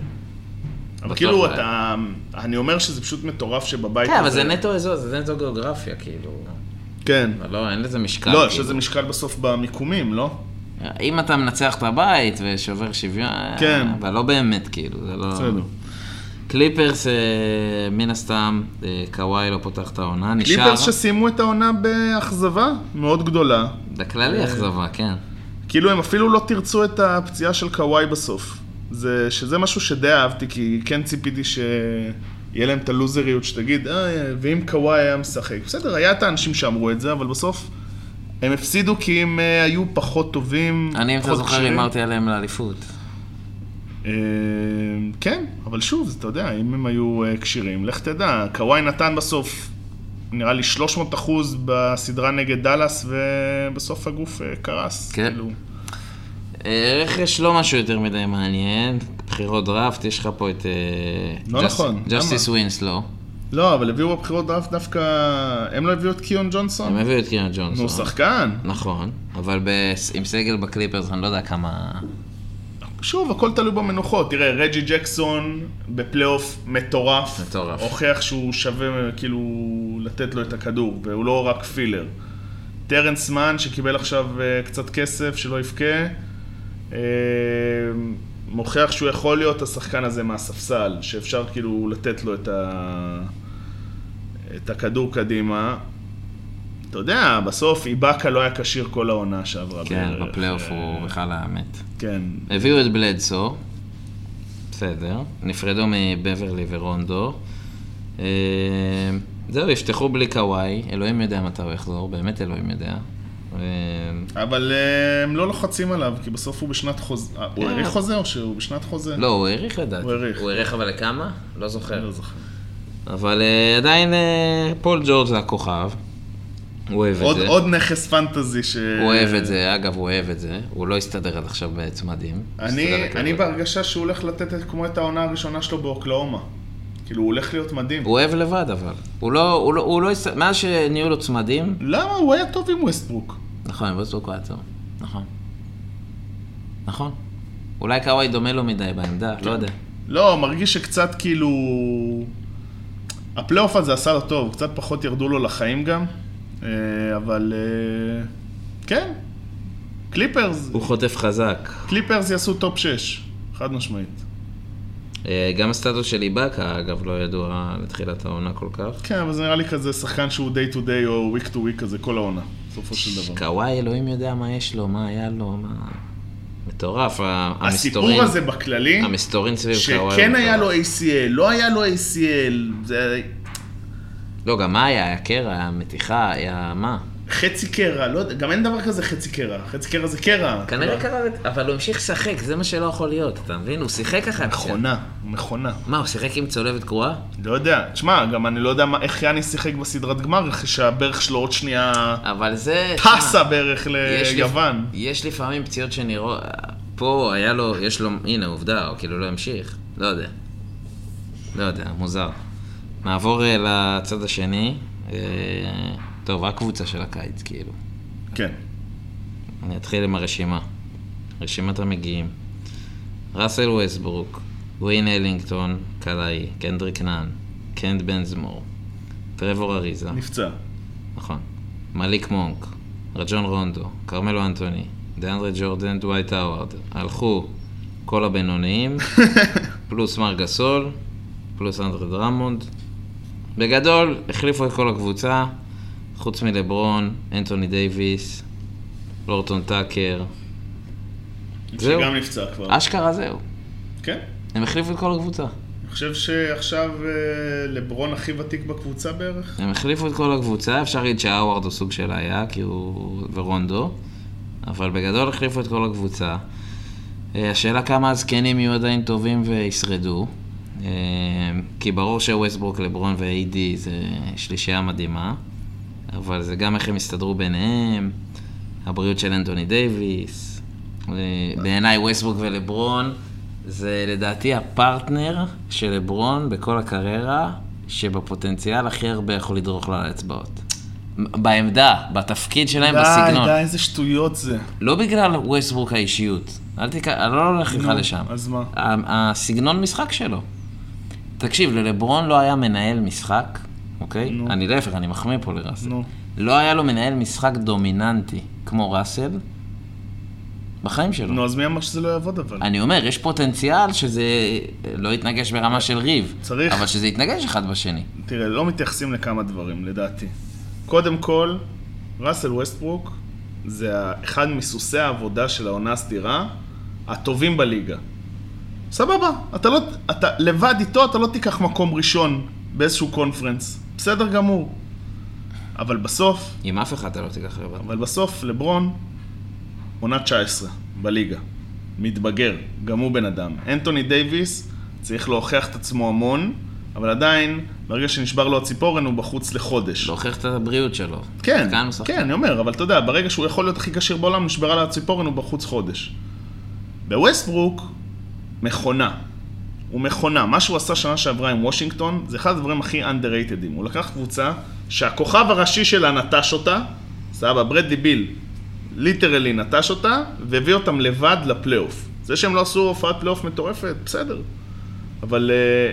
S2: אבל
S1: בטוח
S2: כאילו,
S1: לא.
S2: אתה... אני אומר שזה פשוט מטורף שבבית הזה...
S1: כן, אבל זה נטו אזור, זה נטו גיאוגרפיה, כאילו.
S2: כן.
S1: אבל לא, אין לזה משקל.
S2: לא, יש
S1: כאילו. אה.
S2: לזה משקל בסוף במיקומים, לא?
S1: אם אתה מנצח את הבית ושובר שוויון,
S2: כן.
S1: אבל לא באמת, כאילו, זה לא...
S2: בסדר.
S1: קליפרס, אה, מן הסתם, אה, קוואי לא פותח את העונה, נשאר...
S2: קליפרס שסיימו את העונה באכזבה מאוד גדולה. אה,
S1: בכללי אכזבה, כן.
S2: כאילו, הם אפילו לא תרצו את הפציעה של קוואי בסוף. זה, שזה משהו שדי אהבתי, כי כן ציפיתי שיהיה להם את הלוזריות שתגיד, אה, ואם קוואי היה משחק. בסדר, היה את האנשים שאמרו את זה, אבל בסוף הם הפסידו כי הם אה, היו פחות טובים.
S1: אני, אם אתה
S2: פחות
S1: זוכר,
S2: כשירים.
S1: הימרתי עליהם לאליפות.
S2: אה, כן, אבל שוב, זה, אתה יודע, אם הם היו אה, כשירים, לך תדע, קוואי נתן בסוף, נראה לי 300 אחוז בסדרה נגד דאלאס, ובסוף הגוף אה, קרס.
S1: כן.
S2: כאילו.
S1: אה, רכש לא משהו יותר מדי מעניין, בחירות דראפט, יש לך פה את... אה,
S2: לא
S1: ג'ס-
S2: נכון,
S1: ג'סטיס
S2: למה?
S1: ווינסלו,
S2: לא, אבל הביאו בבחירות דראפט דווקא... הם לא הביאו את קיון
S1: הם
S2: ג'ונסון?
S1: הביאו את קירן ג'ונסון.
S2: נו, שחקן.
S1: נכון, אבל ב- עם סגל בקליפרס, אני לא יודע כמה...
S2: כן, שוב, הכל תלוי במנוחות. תראה, רג'י ג'קסון בפלייאוף מטורף.
S1: מטורף.
S2: הוכיח שהוא שווה, כאילו, לתת לו את הכדור, והוא לא רק פילר. טרנס מן, שקיבל עכשיו אה, קצת כסף, שלא יבכה, אה, מוכיח שהוא יכול להיות השחקן הזה מהספסל, שאפשר כאילו לתת לו את, ה... את הכדור קדימה. אתה יודע, בסוף איבאקה לא היה כשיר כל העונה שעברה.
S1: כן,
S2: בערך.
S1: בפלייאוף
S2: אה,
S1: הוא בכלל היה מת.
S2: כן,
S1: הביאו את בלדסו, בסדר, נפרדו מבברלי ורונדו. אה, זהו, יפתחו בלי קוואי, אלוהים יודע מתי הוא יחזור, באמת אלוהים יודע. אה,
S2: אבל אה, הם לא לוחצים עליו, כי בסוף הוא בשנת חוזה. אה, הוא
S1: כן.
S2: האריך חוזה או שהוא בשנת חוזה?
S1: לא, הוא האריך לדעתי.
S2: הוא האריך.
S1: הוא האריך אבל לכמה? לא זוכר.
S2: לא זוכר.
S1: אבל אה, עדיין אה, פול ג'ורג' זה הכוכב. הוא אוהב את
S2: עוד-
S1: זה.
S2: עוד נכס פנטזי ש...
S1: הוא אוהב את זה, אגב, הוא אוהב את זה. הוא לא הסתדר עד עכשיו בצמדים. הסתדר
S2: אני,
S1: רק
S2: אני
S1: לבד.
S2: בהרגשה שהוא הולך לתת את- כמו את העונה הראשונה שלו באוקלאומה. כאילו, הוא הולך להיות מדהים.
S1: הוא אוהב לבד, אבל. הוא לא, הוא לא, הוא לא הסתדר, מאז שנהיו לו צמדים,
S2: למה? הוא היה טוב עם ווסטברוק.
S1: נכון, עם ווסטברוק הוא היה טוב. נכון. נכון. אולי קוואי דומה לו מדי בעמדה, לא יודע.
S2: לא, מרגיש שקצת כאילו... הפלייאוף הזה עשה לו טוב, קצת פחות ירדו לו לחיים גם, אה, אבל... אה, כן, קליפרס,
S1: הוא חוטף חזק.
S2: קליפרס יעשו טופ 6, חד משמעית.
S1: אה, גם הסטטוס של איבאקה, אגב, לא ידוע לתחילת העונה כל כך.
S2: כן, אבל זה נראה לי כזה שחקן שהוא day to day או week to week כזה כל העונה, בסופו של דבר.
S1: קוואי, אלוהים יודע מה יש לו, מה היה לו, מה... מטורף, ה- המסתורין.
S2: הסיפור הזה בכללי,
S1: המסתורין סביב קוואי. הוא
S2: שכן היה לו
S1: מטורף.
S2: ACL, לא היה לו ACL, זה
S1: לא, גם מה היה? היה קרע, היה מתיחה, היה מה?
S2: חצי קרע, לא יודע, גם אין דבר כזה חצי קרע, חצי קרע זה קרע.
S1: כנראה קרה, אבל הוא המשיך לשחק, זה מה שלא יכול להיות, אתה מבין? הוא שיחק ככה.
S2: מכונה, מכונה.
S1: מה, הוא שיחק עם צולבת קרואה?
S2: לא יודע, תשמע, גם אני לא יודע מה- איך יאני שיחק בסדרת גמר, אחרי שהברך שלו עוד שנייה
S1: אבל זה... תשמע,
S2: טסה בערך
S1: אה, יש לפ-
S2: ליוון.
S1: יש לפעמים פציעות שנראות... פה היה לו, יש לו, הנה עובדה, הוא כאילו לא המשיך. לא יודע. לא יודע, מוזר. נעבור אה, לצד השני. אה, טוב, הקבוצה של הקיץ, כאילו.
S2: כן.
S1: אני אתחיל עם הרשימה. רשימת המגיעים. ראסל ווסטברוק, ווין אלינגטון, קלעי, קנדריק נאן, קנד בנזמור, טרוור אריזה,
S2: נפצע.
S1: נכון, מליק מונק, רג'ון רונדו, כרמלו אנטוני, דאנדרי ג'ורדן, דווייט האווארד. הלכו כל הבינוניים, פלוס מר גסול, פלוס אנדרי דרמונד. בגדול, החליפו את כל הקבוצה, חוץ מלברון, אנטוני דייוויס, לורטון טאקר, זהו. אה.
S2: שגם נפצע כבר.
S1: אשכרה זהו.
S2: כן.
S1: הם החליפו את כל הקבוצה.
S2: אני חושב שעכשיו אה, לברון הכי ותיק בקבוצה בערך.
S1: הם החליפו את כל הקבוצה, אפשר להגיד שהאווארד הוא סוג של היה, כי הוא... ורונדו, אבל בגדול החליפו את כל הקבוצה. אה, השאלה כמה הזקנים יהיו עדיין טובים וישרדו, אה, כי ברור שווסטברוק, לברון ו-AD זה שלישייה מדהימה, אבל זה גם איך הם יסתדרו ביניהם, הבריאות של אנטוני דייוויס, אה, בעיניי ווסטברוק ולברון זה לדעתי הפרטנר של לברון בכל הקריירה, שבפוטנציאל הכי הרבה יכול לדרוך לו על האצבעות. בעמדה, בתפקיד שלהם, אה, בסגנון.
S2: איזה שטויות זה.
S1: לא בגלל ווסטברוק האישיות. אל תיק... אני לא הולך איתך
S2: נו,
S1: לשם.
S2: אז מה?
S1: ה- הסגנון משחק שלו. תקשיב, ללברון לא היה מנהל משחק, אוקיי?
S2: נו.
S1: אני להפך, אני מחמיא פה לראסל.
S2: נו.
S1: לא היה לו מנהל משחק דומיננטי כמו ראסל בחיים שלו.
S2: נו, אז מי אמר שזה לא יעבוד אבל?
S1: אני אומר, יש פוטנציאל שזה לא יתנגש ברמה של ריב.
S2: צריך.
S1: אבל שזה יתנגש אחד בשני.
S2: תראה, לא מתייחסים לכמה דברים, לדעתי. קודם כל, ראסל ווסטברוק זה ה- אחד מסוסי העבודה של העונה הסדירה הטובים בליגה. סבבה, אתה לא, אתה לבד איתו, אתה לא תיקח מקום ראשון באיזשהו קונפרנס. בסדר גמור. אבל בסוף,
S1: עם אף אחד אתה לא תיקח רבע.
S2: אבל בסוף לברון, עונה 19 בליגה. מתבגר, גם הוא בן אדם. אנטוני דייוויס צריך להוכיח את עצמו המון, אבל עדיין, ברגע שנשבר לו הציפורן, הוא בחוץ לחודש.
S1: להוכיח את הבריאות שלו.
S2: כן,
S1: שחקן הוא שחקן.
S2: כן, אני אומר, אבל אתה יודע, ברגע שהוא יכול להיות הכי כשיר בעולם, נשברה לו הציפורן, הוא בחוץ חודש. בווסטברוק, מכונה. הוא מכונה. מה שהוא עשה שנה שעברה עם וושינגטון, זה אחד הדברים הכי underratedים. הוא לקח קבוצה שהכוכב הראשי שלה נטש אותה, סבבה, ברדלי ביל ליטרלי נטש אותה, והביא אותם לבד לפלייאוף. זה שהם לא עשו הופעת פלייאוף מטורפת, בסדר. אבל אה,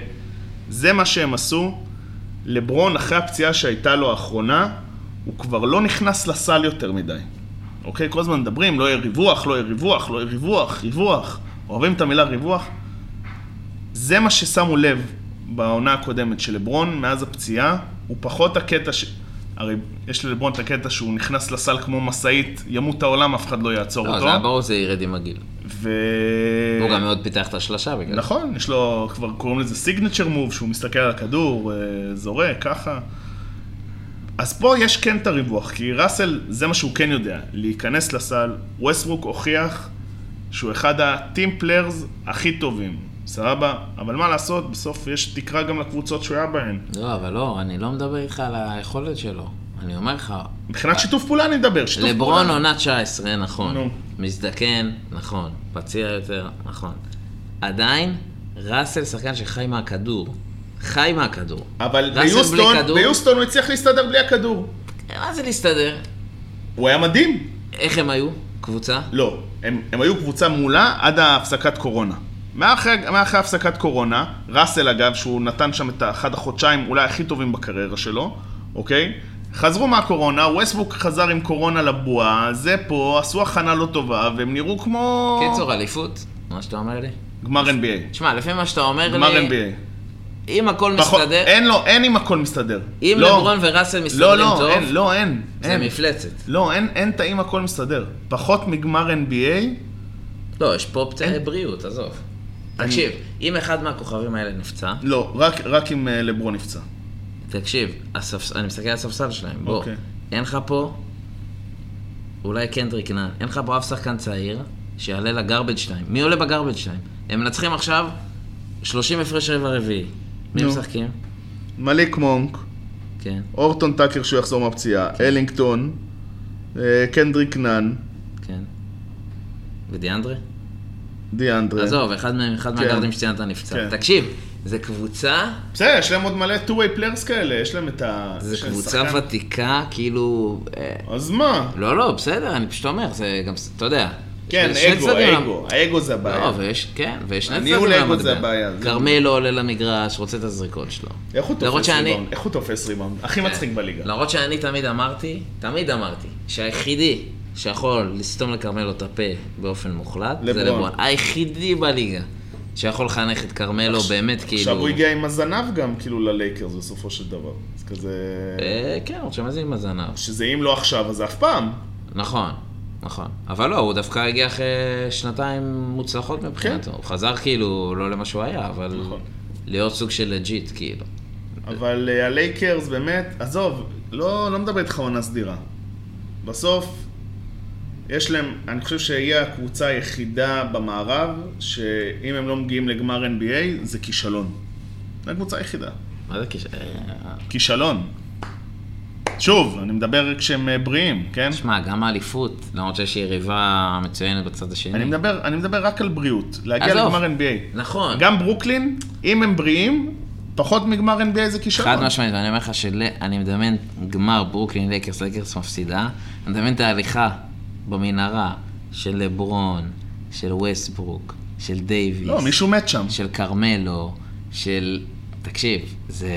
S2: זה מה שהם עשו. לברון, אחרי הפציעה שהייתה לו האחרונה, הוא כבר לא נכנס לסל יותר מדי. אוקיי? כל הזמן מדברים, לא יהיה ריווח, לא יהיה ריווח, לא יהיה ריווח, ריווח. אוהבים את המילה ריווח? זה מה ששמו לב בעונה הקודמת של לברון, מאז הפציעה, הוא פחות הקטע ש... הרי יש ללברון את הקטע שהוא נכנס לסל כמו משאית, ימות העולם, אף אחד לא אה. יעצור
S1: לא,
S2: אותו.
S1: זה היה ברור שזה ירד עם הגיל.
S2: ו...
S1: הוא גם מאוד פיתח את השלשה בגלל זה.
S2: נכון, יש לו, כבר קוראים לזה סיגנצ'ר מוב, שהוא מסתכל על הכדור, אה, זורק, ככה. אז פה יש כן את הריווח, כי ראסל, זה מה שהוא כן יודע, להיכנס לסל. ווסטברוק הוכיח שהוא אחד הטים פליירס הכי טובים, סבבה? אבל מה לעשות, בסוף יש תקרה גם לקבוצות שהוא היה בהן.
S1: לא, אבל לא, אני לא מדבר איתך על היכולת שלו. אני אומר לך,
S2: מבחינת שיתוף פעולה אני מדבר, שיתוף פעולה.
S1: לברון עונה 19, נכון.
S2: נו.
S1: מזדקן, נכון. פציע יותר, נכון. עדיין, ראסל שחקן שחי מהכדור. חי מהכדור.
S2: אבל
S1: ראסל בלי
S2: ביוסטון,
S1: כדור?
S2: ביוסטון הוא הצליח להסתדר בלי הכדור.
S1: מה זה להסתדר?
S2: הוא היה מדהים.
S1: איך הם היו? קבוצה?
S2: לא, הם, הם היו קבוצה מעולה עד הפסקת קורונה. מאחרי, מאחרי הפסקת קורונה, ראסל אגב, שהוא נתן שם את אחד החודשיים אולי הכי טובים בקריירה שלו, אוקיי? חזרו מהקורונה, ווסטבוק חזר עם קורונה לבועה, זה פה, עשו הכנה לא טובה, והם נראו כמו...
S1: קיצור, אליפות? מה שאתה אומר לי?
S2: גמר NBA.
S1: תשמע, לפי מה שאתה אומר
S2: גמר
S1: לי,
S2: NBA.
S1: אם הכל
S2: פחות-
S1: מסתדר,
S2: נכון, אין לו, אין אם הכל מסתדר.
S1: אם
S2: לא.
S1: לברון וראסל
S2: לא,
S1: מסתדרים
S2: לא,
S1: טוב,
S2: אין, לא, אין.
S1: זה
S2: אין.
S1: מפלצת.
S2: לא, אין, אין את האם הכל מסתדר. פחות מגמר NBA,
S1: לא, יש פה פצעי בריאות, עזוב.
S2: אני-
S1: תקשיב, אם אחד מהכוכבים האלה נפצע,
S2: לא, רק, רק אם אה, לברון נפצע.
S1: תקשיב, הספס- אני מסתכל על הספסל שלהם, בוא.
S2: אוקיי.
S1: אין לך פה, אולי קנדריק נאן, אין לך פה אף שחקן צעיר שיעלה לגרבג' 2. מי עולה בגרבג' 2? הם מנצחים עכשיו 30 הפרש רבע רביעי. מי
S2: נו.
S1: משחקים?
S2: מליק מונק.
S1: כן,
S2: אורטון טאקר שהוא יחזור מהפציעה, אלינגטון, אה, קנדריק נאן,
S1: כן. ודיאנדרה?
S2: דיאנדרה.
S1: עזוב, אחד מהם, אחד
S2: כן.
S1: מהגרדים שציינת נפצע.
S2: כן.
S1: תקשיב, זה קבוצה,
S2: בסדר, יש להם עוד מלא two-way players כאלה, יש להם את ה...
S1: זה
S2: יש להם
S1: קבוצה
S2: שחקן.
S1: ותיקה, כאילו... אה,
S2: אז מה?
S1: לא, לא, בסדר, אני פשוט אומר, זה גם, אתה יודע.
S2: כן,
S1: יש שני
S2: אגו,
S1: צדדים
S2: האגו, האגו זה הבעיה.
S1: לא, ויש, כן, ויש שני
S2: הניהול
S1: צדדים
S2: האגו זה הבעיה, זה-
S1: כרמל לא עולה למגרש, רוצה את הזריקות שלו.
S2: איך הוא
S1: למרות
S2: תופס
S1: שאני- כן. לא,
S2: ריבאונד? איך הוא תופס ריבאונד? הכי מצחיק בליגה.
S1: למרות שאני תמיד אמרתי, תמיד אמרתי, שהיחידי שיכול לסתום לכרמלו את הפה באופן מוחלט, זה
S2: לברון.
S1: לברון. היחידי בליגה שיכול לחנך את כרמלו באמת, כאילו...
S2: עכשיו הוא הגיע עם הזנב גם, כאילו, ללייקרס בסופו של דבר. אז כזה...
S1: אה, כן, הוא שמע זה עם הזנב.
S2: שזה אם לא עכשיו, אז אף פעם.
S1: נכון, נכון. אבל לא, הוא דווקא הגיע אחרי שנתיים מוצלחות מבחינתו. הוא חזר כאילו לא למה שהוא היה, אבל
S2: כן. נכון.
S1: להיות סוג של לג'יט, כאילו.
S2: אבל אה, הלייקרס באמת, עזוב, לא, לא מדבר איתך עונה סדירה. בסוף, יש להם, אני חושב שהיא הקבוצה היחידה במערב, שאם הם לא מגיעים לגמר NBA, זה כישלון. זו הקבוצה היחידה.
S1: מה זה אה, קשר?
S2: כישלון. שוב, אני מדבר כשהם אה, בריאים, כן?
S1: שמע, גם האליפות, למרות שיש יריבה מצוינת בצד השני.
S2: אני מדבר, אני מדבר רק על בריאות, להגיע
S1: עזוב.
S2: לגמר NBA.
S1: נכון.
S2: גם ברוקלין, אם הם בריאים, פחות מגמר NBA זה כישלון.
S1: חד משמעית, ואני אומר לך שאני מדמיין גמר ברוקלין לייקרס, לייקרס מפסידה, אני מדמיין את ההליכה במנהרה של לברון, של ווסטברוק, של דייוויס.
S2: לא, מישהו מת שם.
S1: של כרמלו, של... תקשיב, זה...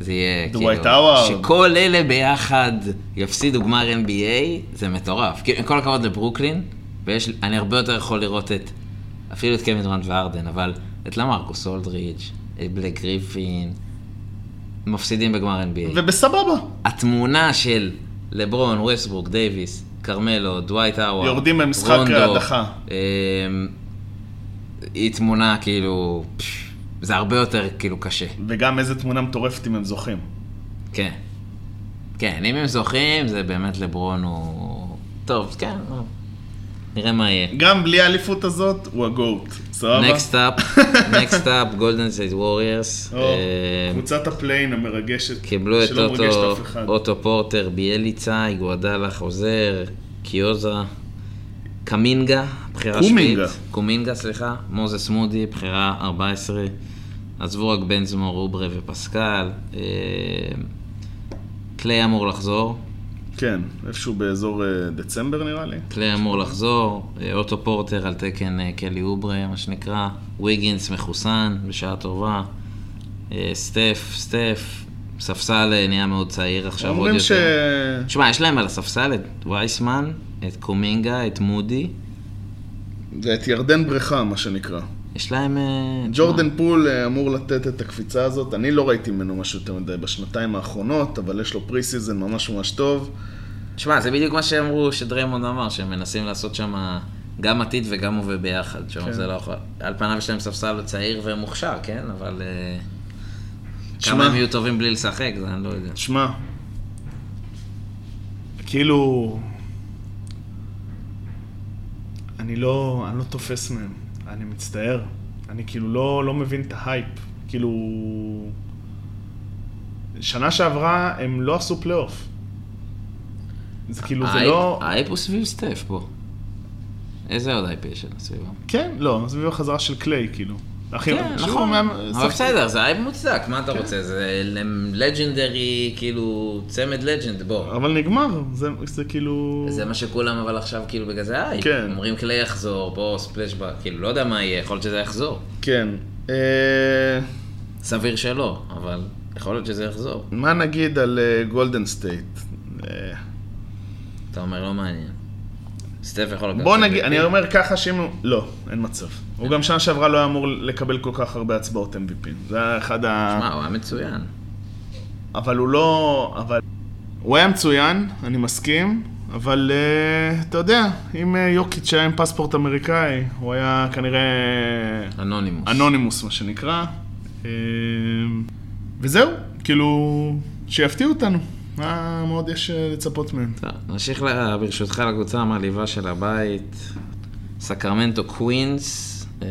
S1: זה יהיה כאילו
S2: דווייט האווארד.
S1: שכל אלה ביחד יפסידו גמר NBA, זה מטורף. כאילו, עם כל הכבוד לברוקלין, ויש... אני הרבה יותר יכול לראות את... אפילו את קווין דרנט וארדן, אבל את למרקוס אולדריג', את בלק גריפין, מפסידים בגמר NBA.
S2: ובסבבה,
S1: התמונה של לברון, ווסטברוק, דייוויס, כרמלו, דווייט האוואר,
S2: יורדים במשחק ההדחה.
S1: היא תמונה כאילו, פש, זה הרבה יותר כאילו קשה.
S2: וגם איזה תמונה מטורפת אם הם זוכים.
S1: כן. כן, אם הם זוכים, זה באמת לברון הוא... טוב, כן, לא. נראה מה יהיה.
S2: גם בלי האליפות הזאת, הוא הגוט. סבבה?
S1: נקסט אפ, נקסט אפ, גולדן סייד ווריארס.
S2: או,
S1: אמ,
S2: קבוצת הפליין המרגשת,
S1: אה, קיבלו את
S2: שלא מרגשת
S1: אוטו,
S2: אף אחד.
S1: אוטו פורטר, ביאליצה, איגואדלה חוזר, קיוזה, קמינגה, בחירה שביעית.
S2: קומינגה.
S1: קומינגה, סליחה. מוזס מודי, בחירה 14. עזבו רק בנזמור, רוברה ופסקל. אה, קליי אמור לחזור.
S2: כן, איפשהו באזור אה, דצמבר נראה לי.
S1: קליי אמור לחזור, אה, אוטו פורטר על תקן אה, קלי אוברה, מה שנקרא, ויגינס מחוסן, בשעה טובה, אה, סטף, סטף, ספסל אה, נהיה מאוד צעיר עכשיו, עוד
S2: אומרים
S1: יותר.
S2: ש...
S1: תשמע, יש להם על הספסל את וייסמן, את קומינגה, את מודי,
S2: זה את ירדן בריכה, מה שנקרא.
S1: יש להם... אה,
S2: ג'ורדן
S1: תשמע,
S2: פול אה, אמור לתת את הקפיצה הזאת, אני לא ראיתי ממנו משהו יותר מדי בשנתיים האחרונות, אבל יש לו פרי סיזן ממש ממש טוב.
S1: תשמע, זה בדיוק מה שאמרו, שדריימונד אמר, שהם מנסים לעשות שם גם עתיד וגם הווה ביחד, שם
S5: כן.
S1: זה לא יכול... על פניו יש להם ספסל צעיר ומוכשר, כן? אבל... אה,
S2: תשמע.
S1: כמה הם יהיו טובים בלי לשחק, זה אני לא יודע.
S2: שמע, כאילו...
S5: אני לא, אני לא תופס מהם, אני מצטער. אני כאילו לא, לא מבין את ההייפ. כאילו... שנה שעברה הם לא עשו פלייאוף. זה כאילו, זה
S1: האייפ-
S5: לא...
S1: האייפ הוא סביב סטף פה. איזה עוד אייפ יש לנו סביבו?
S5: כן, לא, סביב החזרה של קליי, כאילו. אחי,
S1: כן,
S5: שוב,
S1: נכון.
S5: מאמן-
S1: אבל
S5: שחק- כן.
S1: בסדר, זה אייפ מוצדק, מה אתה רוצה? זה לג'נדרי, כאילו, צמד לג'נד, בוא.
S5: אבל נגמר, זה, זה כאילו...
S1: זה מה שכולם אבל עכשיו, כאילו, בגלל זה אייפ.
S2: כן.
S1: אומרים כלי יחזור, בוא, ספלשבק, כאילו, לא יודע מה יהיה, יכול להיות שזה יחזור.
S2: כן. אה,
S1: סביר שלא, אבל יכול להיות שזה יחזור.
S2: מה נגיד על אה, גולדן סטייט? אה,
S1: אתה אומר, לא מעניין. סטף יכול לקחת...
S2: בוא
S1: את זה
S2: נגיד, אני
S1: בפיק.
S2: אומר ככה שאם הוא... לא, אין מצב. הוא גם שנה שעברה לא היה אמור לקבל כל כך הרבה הצבעות MVP. זה היה אחד ה...
S1: שמע, הוא היה מצוין.
S2: אבל הוא לא... אבל... הוא היה מצוין, אני מסכים, אבל אה, אתה יודע, אם אה, יוקיץ' היה עם פספורט אמריקאי, הוא היה כנראה
S1: אנונימוס.
S2: אנונימוס, מה שנקרא. אה, וזהו, כאילו, שיפתיעו אותנו. מה מה עוד יש אה, לצפות מהם?
S1: טוב, נמשיך ל- ברשותך לקבוצה המעליבה של הבית, סקרמנטו קווינס, אה,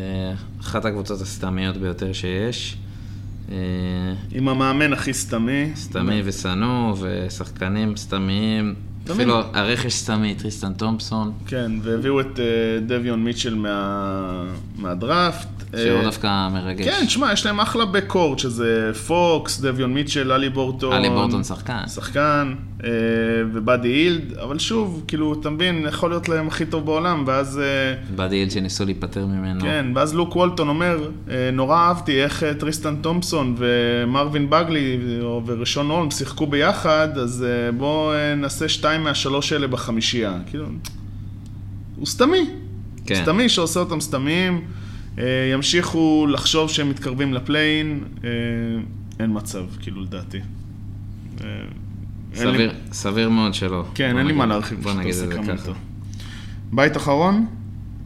S1: אחת הקבוצות הסתמיות ביותר שיש. אה,
S2: עם המאמן הכי סתמי.
S1: סתמי ושנוא, ושחקנים סתמיים,
S2: תמיד.
S1: אפילו הרכש סתמי, טריסטן תומפסון,
S2: כן, והביאו את אה, דביון מיטשל מה- מהדראפט.
S1: שהוא
S2: אה,
S1: דווקא מרגש.
S2: כן, תשמע, יש להם אחלה בקורט, שזה פוקס, דביון מיטשל, אלי בורטון.
S1: עלי בורטון שחקן.
S2: שחקן, אה, ובאדי הילד, אבל שוב, כאילו, אתה מבין, יכול להיות להם הכי טוב בעולם, ואז, אה,
S1: באדי איל שניסו להיפטר ממנו.
S2: כן, ואז לוק וולטון אומר, אה, נורא אהבתי איך אה, טריסטן תומפסון ומרווין בגלי ו- וראשון הולם שיחקו ביחד, אז אה, בואו אה, נעשה שתיים מהשלוש האלה בחמישייה. כאילו, הוא סתמי.
S1: כן.
S2: סתמי שעושה אותם סתמיים, אה, ימשיכו לחשוב שהם מתקרבים לפליין, אה, אין מצב, כאילו, לדעתי. אה, אין לי-
S1: סביר- סביר מאוד שלא.
S2: כן,
S1: בוא
S2: אין לי מה
S1: נגיד-
S2: להרחיב
S1: בוא
S2: פשוט
S1: נגיד
S2: על
S1: את זה ככה.
S2: סקרמנטו. בית אחרון?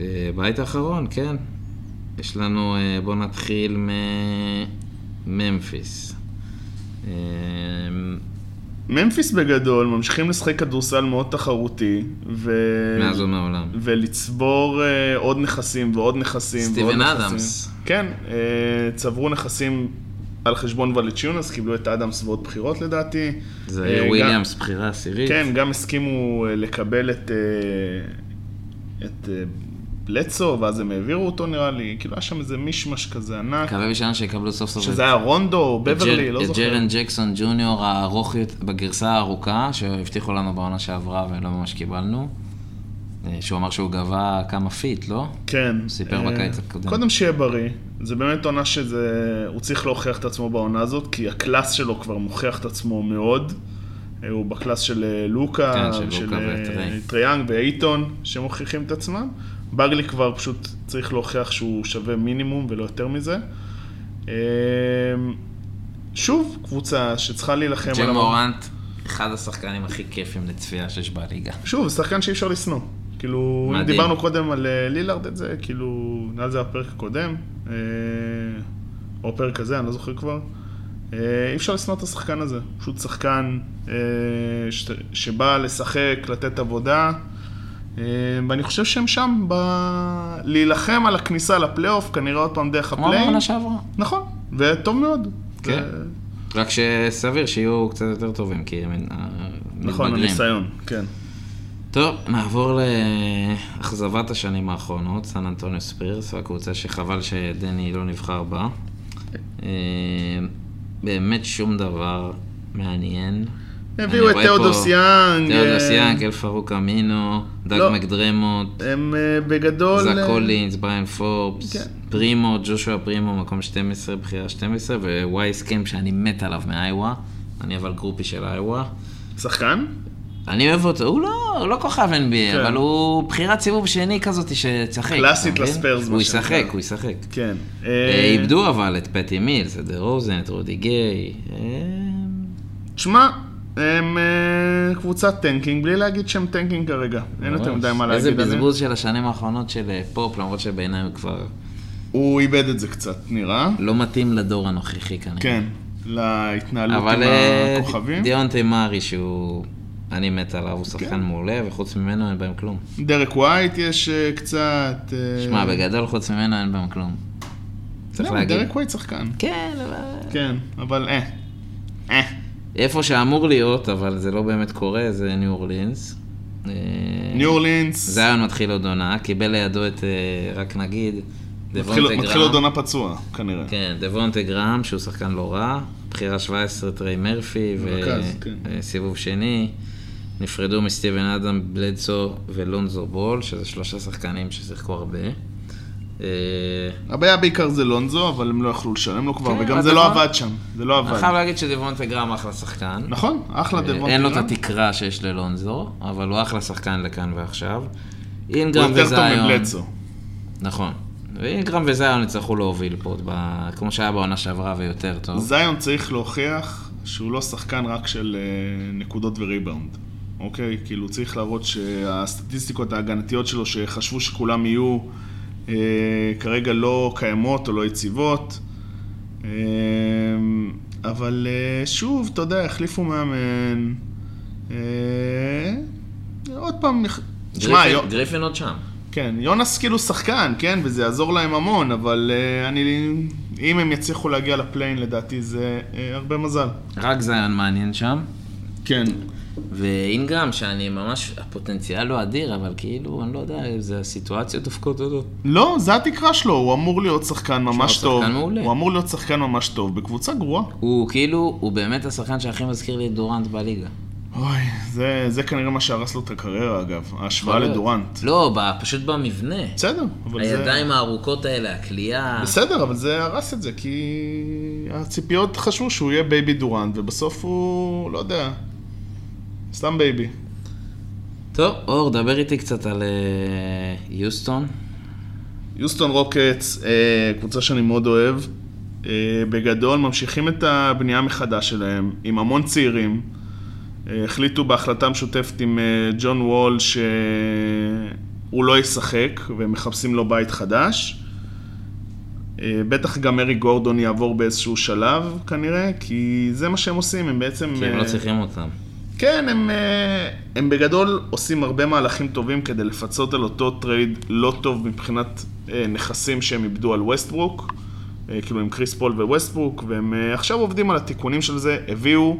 S1: אה, בית האחרון, כן. יש לנו, אה, בואו נתחיל מממפיס. אה,
S2: ממפיס בגדול, ממשיכים לשחק כדורסל מאוד תחרותי, ו... אה,
S1: מאז ומעולם.
S2: ולצבור אה, עוד נכסים ועוד נכסים ועוד
S1: סטיבן
S2: נכסים.
S1: אדמס.
S2: כן, אה, צברו נכסים על חשבון ולצ'יונס, קיבלו את אדמס ועוד בחירות לדעתי.
S1: זה
S2: אה, גם-
S1: וויליאמס, בחירה עשירית.
S2: כן, גם הסכימו אה, לקבל את, אה, את אה, בלצו, ואז הם העבירו אותו נראה לי, כאילו היה שם איזה מישמש כזה ענק,
S1: מקווה בשנה שיקבלו סוף סוף
S2: שזה היה רונדו או
S1: את
S2: בברלי,
S1: ג'ר-
S2: לא
S1: את
S2: זוכר.
S1: ג'רן ג'קסון ג'וניור הארוך יות- בגרסה הארוכה, שהבטיחו לנו בעונה שעברה ולא ממש קיבלנו. אה, שהוא אמר שהוא גבה כמה פיט, לא?
S2: כן.
S1: סיפר
S2: אה,
S1: בקיץ הקודם.
S2: קודם שיהיה בריא. זה באמת עונה שזה... הוא צריך להוכיח את עצמו בעונה הזאת, כי הקלאס שלו כבר מוכיח את עצמו מאוד. אה, הוא בקלאס של אה, לוקה,
S1: כן, של
S2: של
S1: לוקה
S2: אה,
S1: וטריי.
S2: טריאנג ואייטון, שמוכיחים את עצמם. בגלי כבר פשוט צריך להוכיח שהוא שווה מינימום ולא יותר מזה. אה, שוב, קבוצה שצריכה להילחם
S1: ג'ם
S2: המ-
S1: מורנט, אחד השחקנים הכי כיפים לצפייה שיש בליגה.
S2: שוב, שחקן שאי אפשר לשנוא. כאילו, אם
S1: מדהים.
S2: דיברנו קודם על אה, לילארד את זה, כאילו, נראה לי זה הפרק הקודם, אה, או הפרק הזה, אני לא זוכר כבר. אה, אי אפשר לשנוא את השחקן הזה. פשוט שחקן אה, ש- שבא לשחק, לתת עבודה, אה, ואני חושב שהם שם ב... להילחם על הכניסה לפלייאוף, כנראה עוד פעם דרך
S1: כמו
S2: הפליין.
S1: בעונה שעברה.
S2: נכון, וטוב מאוד.
S1: כן.
S2: זה-
S1: רק שסביר שיהיו קצת יותר טובים, כי הם אה, מתבגרים.
S2: נכון, הניסיון, נכון, כן.
S1: טוב, נעבור לאכזבת השנים האחרונות, סן אנטוניו ספירס, הקבוצה שחבל שדני לא נבחר בה. אה, באמת שום דבר מעניין.
S2: הביאו
S1: אני
S2: את
S1: רואה
S2: תיאודוס
S1: פה-
S2: יאנג,
S1: תיאודוס
S2: אה,
S1: יאנג, אל פרוק אמינו, דג
S2: לא.
S1: מקדרמוט,
S2: הם אה, בגדול...
S1: זק
S2: אה,
S1: קולינס, בריין פורבס,
S2: כן.
S1: פרימו, ג'ושוע פרימו, מקום 12, בחירה 12, ווייס קמפ שאני מת עליו מאיווה. אני אבל גרופי של איווה.
S2: שחקן?
S1: אני אוהב אותו, הוא לא, הוא לא כוכב NBA,
S2: כן.
S1: אבל הוא בחירת סיבוב שני כזאת שצחק.
S2: קלאסית
S1: אתה מבין?
S2: לספיירס,
S1: הוא
S2: מה שנקרא.
S1: ישחק, הוא ישחק.
S2: כן.
S1: אה,
S2: אה,
S1: איבדו אבל את פטי מילס, את דה רוזן, את רודי גיי. אה,
S2: תשמע, הם אה, קבוצת טנקינג, בלי להגיד שהם טנקינג כרגע. אין יותר מדי מה להגיד.
S1: איזה
S2: עליהם.
S1: בזבוז של השנים האחרונות של אה, פופ, למרות שבעיניי הוא כבר
S2: הוא איבד את זה קצת, נראה.
S1: לא מתאים לדור הנוכחי כנראה.
S2: כן, להתנהלות
S1: אבל
S2: עם
S1: אה,
S2: הכוכבים. כן.
S1: דיונטי מארי שהוא, אני מת עליו, הוא שחקן מעולה, וחוץ ממנו אין בהם כלום.
S2: דרק ווייט יש אה, קצת... אה,
S1: שמע, בגדול חוץ ממנו אין בהם כלום. צריך
S2: לא,
S1: להגיד.
S2: דרק ווייט שחקן.
S1: כן, אבל...
S2: כן, אבל אה. אה.
S1: איפה שאמור להיות, אבל זה לא באמת קורה, זה ניו אורלינס. אה,
S2: ניו אורלינס,
S1: זיון מתחיל עוד עונה, קיבל לידו את, אה, רק נגיד,
S2: מתחיל-
S1: דבונטה
S2: מתחיל עוד
S1: גרם.
S2: עונה פצוע, כנראה.
S1: כן, דבונטה גרם, שהוא שחקן לא רע. בחירה 17, טריי מרפי,
S2: מרכז, כן.
S1: וסיבוב שני. נפרדו מסטיבן אדם, בלדסו ולונזו בול, שזה שלושה שחקנים ששיחקו הרבה. אה,
S2: הבעיה בעיקר זה לונזו, אבל הם לא יכלו לשלם לו כבר,
S1: כן,
S2: וגם
S1: אבל
S2: זה לא
S1: נכון.
S2: עבד שם. זה לא
S1: אני חייב
S2: עבד.
S1: להגיד שדבונטה גרם אחלה שחקן.
S2: נכון, אחלה דבון.
S1: אה, אין לו את התקרה שיש ללונזו, אבל הוא אחלה שחקן לכאן ועכשיו.
S2: הוא
S1: אינגרם
S2: יותר טוב
S1: וזיון,
S2: מבלצו.
S1: נכון. ואינגרם וזיון יצטרכו להוביל פה, ב- כמו שהיה בעונה שעברה ויותר טוב.
S2: זיון צריך להוכיח שהוא לא שחקן רק של אה, נקודות וריבאונד. אוקיי? כאילו צריך להראות שהסטטיסטיקות ההגנתיות שלו, שחשבו שכולם יהיו אה, כרגע לא קיימות או לא יציבות. אה, אבל אה, שוב, אתה יודע, החליפו מאמן. אה, עוד פעם, נח- תשמע,
S1: גריפין-
S2: יו-
S1: גריפין עוד שם.
S2: כן, יונס כאילו שחקן, כן, וזה יעזור להם המון, אבל uh, אני, אם הם יצליחו להגיע לפליין, לדעתי זה uh, הרבה מזל.
S1: רק זיון מעניין שם.
S2: כן.
S1: ואינגרם, שאני ממש, הפוטנציאל הוא אדיר, אבל כאילו, אני לא יודע, זה הסיטואציות דופקות אותו.
S2: לא, זה התקרה שלו, הוא אמור להיות שחקן ממש
S1: שחקן
S2: טוב.
S1: מעולה.
S2: הוא אמור להיות שחקן ממש טוב, בקבוצה גרועה.
S1: הוא כאילו, הוא באמת השחקן שהכי מזכיר לי את דורנט בליגה.
S2: אוי, זה, זה כנראה מה שהרס לו את הקריירה, אגב, ההשוואה לדורנט.
S1: לא, ב- פשוט במבנה.
S2: בסדר, אבל זה...
S1: הידיים הארוכות האלה, הכלייה.
S2: בסדר, אבל זה הרס את זה, כי הציפיות חשבו שהוא יהיה בייבי דורנט, ובסוף הוא, לא יודע, סתם בייבי.
S1: טוב, אור, דבר איתי קצת על אה, יוסטון.
S2: יוסטון רוקטס, אה, קבוצה שאני מאוד אוהב. אה, בגדול ממשיכים את הבנייה מחדש שלהם, עם המון צעירים. אה, החליטו בהחלטה משותפת עם אה, ג'ון וול שהוא לא ישחק, והם מחפשים לו בית חדש. אה, בטח גם ארי גורדון יעבור באיזשהו שלב כנראה, כי זה מה שהם עושים, הם בעצם...
S1: כי הם לא
S2: אה,
S1: צריכים אותם.
S2: כן, הם, אה, הם בגדול עושים הרבה מהלכים טובים כדי לפצות על אותו טרייד לא טוב מבחינת אה, נכסים שהם איבדו על ווסטברוק, אה, כאילו עם קריס פול וווסטברוק, והם אה, עכשיו עובדים על התיקונים של זה, הביאו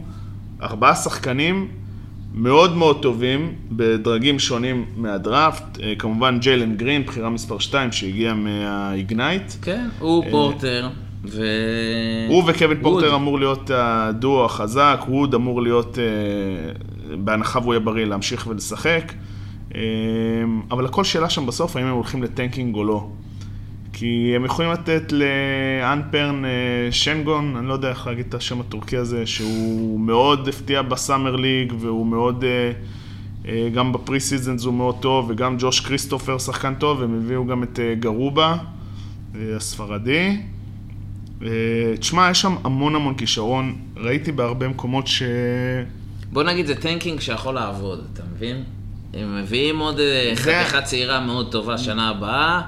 S2: ארבעה שחקנים מאוד מאוד טובים בדרגים שונים מהדראפט, אה, כמובן ג'יילן גרין, בחירה מספר 2 שהגיע מהאיגנייט.
S1: כן, הוא פורטר, ו...
S2: הוא וקווין פורטר
S1: Mm. ווד.
S2: אמור להיות הדואו החזק, ווד אמור להיות, אה, בהנחה והוא יהיה בריא, להמשיך ולשחק. אה, אבל הכל שאלה שם בסוף, האם הם הולכים לטנקינג או לא. כי הם יכולים לתת לאנפרן אה, שנגון, אני לא יודע איך להגיד את השם הטורקי הזה, שהוא מאוד הפתיע בסאמר ליג, והוא מאוד, אה, אה, גם בפרי סיזנס הוא מאוד טוב, וגם ג'וש כריסטופר שחקן טוב, הם הביאו גם את אה, גרובה, אה, הספרדי. אה, תשמע, יש שם המון המון כישרון, ראיתי בהרבה מקומות ש...
S1: בוא נגיד, זה טנקינג שיכול לעבוד, אתה מבין? הם מביאים עוד אה,
S2: זה-
S1: חתיכה צעירה מאוד טובה שנה הבאה,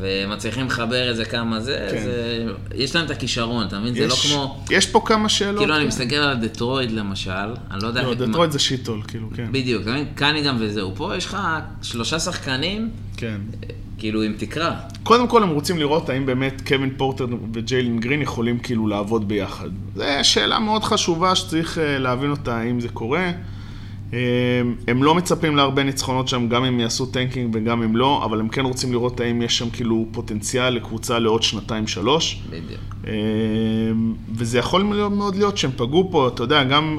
S1: ומצליחים לחבר איזה כמה זה,
S2: כן.
S1: זה... יש להם את הכישרון, אתה מבין? זה לא
S2: יש-
S1: כמו...
S2: יש פה כמה שאלות.
S1: כאילו, אני
S2: כן.
S1: מסתכל על דטרויד למשל, אני לא יודע...
S2: לא,
S1: איך-
S2: דטרויט זה שיטול, כאילו, כן.
S1: בדיוק, אתה מבין? קניגם וזהו. פה יש לך שלושה שחקנים,
S2: כן.
S1: כאילו, עם תקרה.
S2: קודם כל, הם רוצים לראות האם באמת קווין פורטר וג'יילן גרין יכולים כאילו לעבוד ביחד. זו שאלה מאוד חשובה שצריך אה, להבין אותה, האם זה קורה. הם, הם לא מצפים להרבה ניצחונות שם, גם אם יעשו טנקינג וגם אם לא, אבל הם כן רוצים לראות האם יש שם כאילו פוטנציאל לקבוצה לעוד שנתיים-שלוש.
S1: בדיוק.
S2: אה, וזה יכול מאוד- מאוד להיות שהם פגעו פה, אתה יודע, גם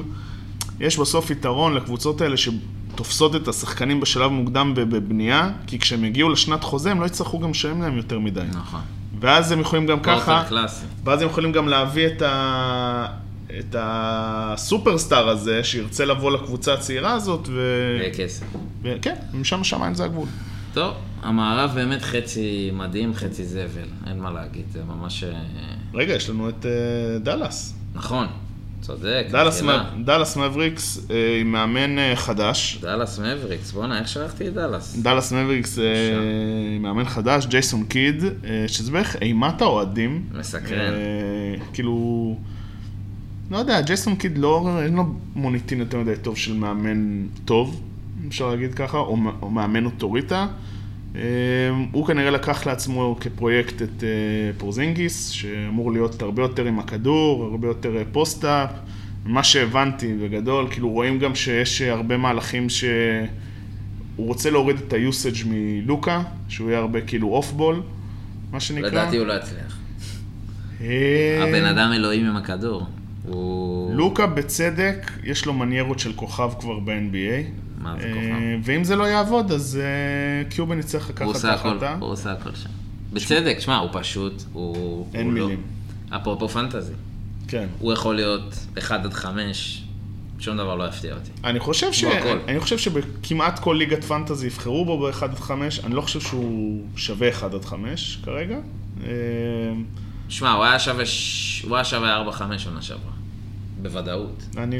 S2: יש בסוף יתרון לקבוצות האלה שתופסות את השחקנים בשלב מוקדם בב- בבנייה, כי כשהם יגיעו לשנת חוזה הם לא יצטרכו גם לשלם להם יותר מדי.
S1: נכון.
S2: ואז הם יכולים
S1: לא,
S2: גם ככה,
S1: פורטר קלאסי.
S2: ואז הם יכולים גם להביא את ה... את הסופרסטאר הזה, שירצה לבוא לקבוצה הצעירה הזאת, ו...
S1: וכסף.
S2: וכן, משם השמיים זה הגבול.
S1: טוב, המערב באמת חצי מדהים, חצי זבל, אין מה להגיד, זה ממש... אה,
S2: רגע, יש לנו את אה, דאלאס.
S1: נכון, צודק.
S2: דאלאס,
S1: מקהלה.
S2: מ- דאלאס מבריקס אה, עם מאמן אה, חדש.
S1: דאלאס מבריקס, בואנה, איך שכחתי את דאלאס?
S2: דאלאס מבריקס אה, עם מאמן חדש, ג'ייסון קיד, אה, שזה בערך אימת האוהדים.
S1: מסקרן.
S2: אה, כאילו, לא יודע, ג'ייסון קיד לא, אין לו מוניטין יותר מדי טוב של מאמן טוב, אפשר להגיד ככה, או, מ- או מאמן אוטוריטה. אה, הוא כנראה לקח לעצמו כפרויקט את אה, פורזינגיס, שאמור להיות הרבה יותר עם הכדור, הרבה יותר אה, פוסט-אפ. מה שהבנתי בגדול, כאילו רואים גם שיש אה, הרבה מהלכים ש... הוא רוצה להוריד את היוסאג' מלוקה, שהוא יהיה הרבה כאילו אוף בול, מה שנקרא.
S1: לדעתי הוא לא יצליח.
S2: אה,
S1: הבן אדם אלוהים עם הכדור. הוא...
S2: לוקה בצדק, יש לו מניירות של כוכב כבר ב-NBA.
S1: מה זה
S2: אה,
S1: כוכב?
S2: ואם זה לא יעבוד, אז אה, קיובן יצטרך לקחת
S1: הוא
S2: את
S1: עושה הכל,
S2: ההחלטה.
S1: הוא עושה הכל שם. בצדק, שמע, הוא פשוט, הוא...
S2: אין
S1: הוא לא-
S2: מילים.
S1: אפרופו פנטזי,
S2: כן.
S1: הוא יכול להיות 1 עד 5, שום דבר לא יפתיע אותי.
S2: אני חושב, ש...
S1: הוא הכל.
S2: אני חושב שבכמעט כל ליגת פנטזי יבחרו בו ב-1 עד 5, אני לא חושב שהוא שווה 1 עד 5 כרגע. אה,
S1: שמע, הוא היה שווה ש- הוא היה שווה 4-5 עונה שעברה. בוודאות.
S2: אני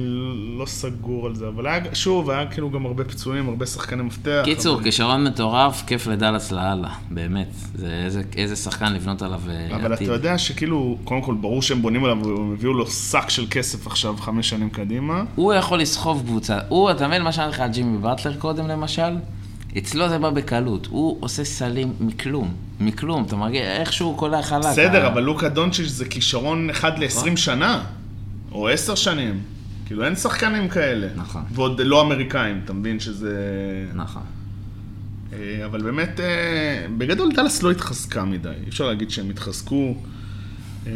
S2: לא סגור על זה, אבל היה, שוב, היה כאילו גם הרבה פצועים, הרבה שחקני מפתח.
S1: קיצור,
S2: אבל-
S1: כישרון מטורף, כיף לדאלאס לאללה, באמת. זה איזה- איזה שחקן לבנות עליו אה, עתיד.
S2: אבל אתה יודע שכאילו, קודם כל ברור שהם בונים עליו, הם הביאו לו שק של כסף עכשיו, חמש שנים קדימה.
S1: הוא יכול לסחוב קבוצה. הוא, אתה מבין מה שאמרתי לך על ג'ימי באטלר קודם למשל? אצלו זה בא בקלות. הוא עושה סלים מכלום. מכלום. אתה מרגיש איכשהו אה? כל החלק.
S2: בסדר, אבל לוקה דונצ'יץ' זה כישרון
S1: נכון.
S2: אחד ל-20 שנה, או 10 שנים. כאילו, אין שחקנים כאלה.
S1: נכון.
S2: ועוד לא אמריקאים, אתה מבין שזה...
S1: נכון.
S2: אה, אבל באמת, אה, בגדול דאלאס לא התחזקה מדי, אי אפשר להגיד שהם התחזקו. אה,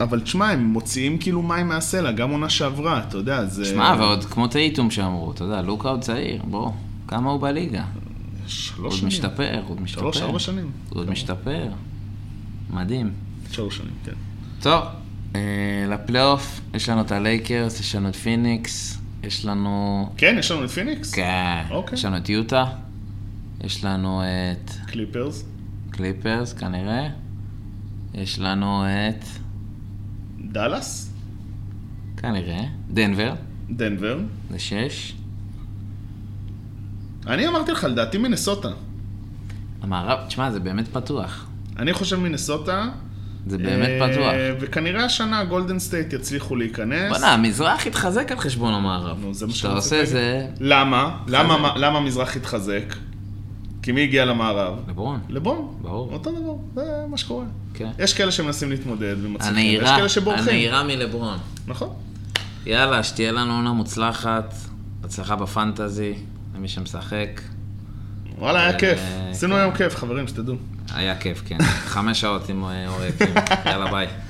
S2: אבל תשמע, הם מוציאים כאילו מים מהסלע, גם עונה שעברה, אתה יודע, זה...
S1: שמע, ועוד כמו טייטום שאמרו, אתה יודע, לוקה עוד צעיר, בוא. כמה הוא בליגה?
S2: שלוש
S1: עוד
S2: שנים.
S1: משתפר, עוד משתפר.
S2: שלוש, ארבע שנים.
S1: הוא עוד משתפר. מדהים.
S2: שלוש שנים, כן.
S1: טוב, אה, לפלייאוף, יש לנו את הלייקרס, יש לנו את פיניקס, יש לנו...
S2: כן, יש לנו את פיניקס?
S1: כן.
S2: אוקיי.
S1: יש לנו את יוטה, יש לנו את
S2: קליפרס,
S1: קליפרס כנראה, יש לנו את...
S2: דאלאס,
S1: כנראה, דנבר,
S2: דנבר.
S1: זה שש.
S2: אני אמרתי לך, לדעתי מנסוטה.
S1: המערב, תשמע, זה באמת פתוח.
S2: אני חושב מנסוטה.
S1: זה באמת פתוח.
S2: אה, וכנראה השנה גולדן סטייט יצליחו להיכנס.
S1: בוא'נה, המזרח התחזק על חשבון המערב.
S2: נו, זה מה
S1: כשאתה
S2: שאני רוצה
S1: עושה
S2: להגיד.
S1: זה...
S2: למה? למה- למה המזרח התחזק? כי מי הגיע למערב?
S1: לברון.
S2: לבון.
S1: ברור.
S2: אותו דבר, זה מה שקורה.
S1: כן.
S2: יש כאלה שמנסים להתמודד ומצליחים, יש
S1: הנהירה,
S2: כאלה שבורחים.
S1: הנהירה מלברון.
S2: נכון.
S1: יאללה, שתהיה לנו עונה מוצלחת, הצלחה בפנטזי, למי שמשחק.
S2: וואלה, היה
S1: אה,
S2: כיף.
S1: כן.
S2: עשינו היום כיף, חברים, שתדעו.
S1: היה כיף, כן. חמש שעות עם אה, אורי קים. יאללה, ביי.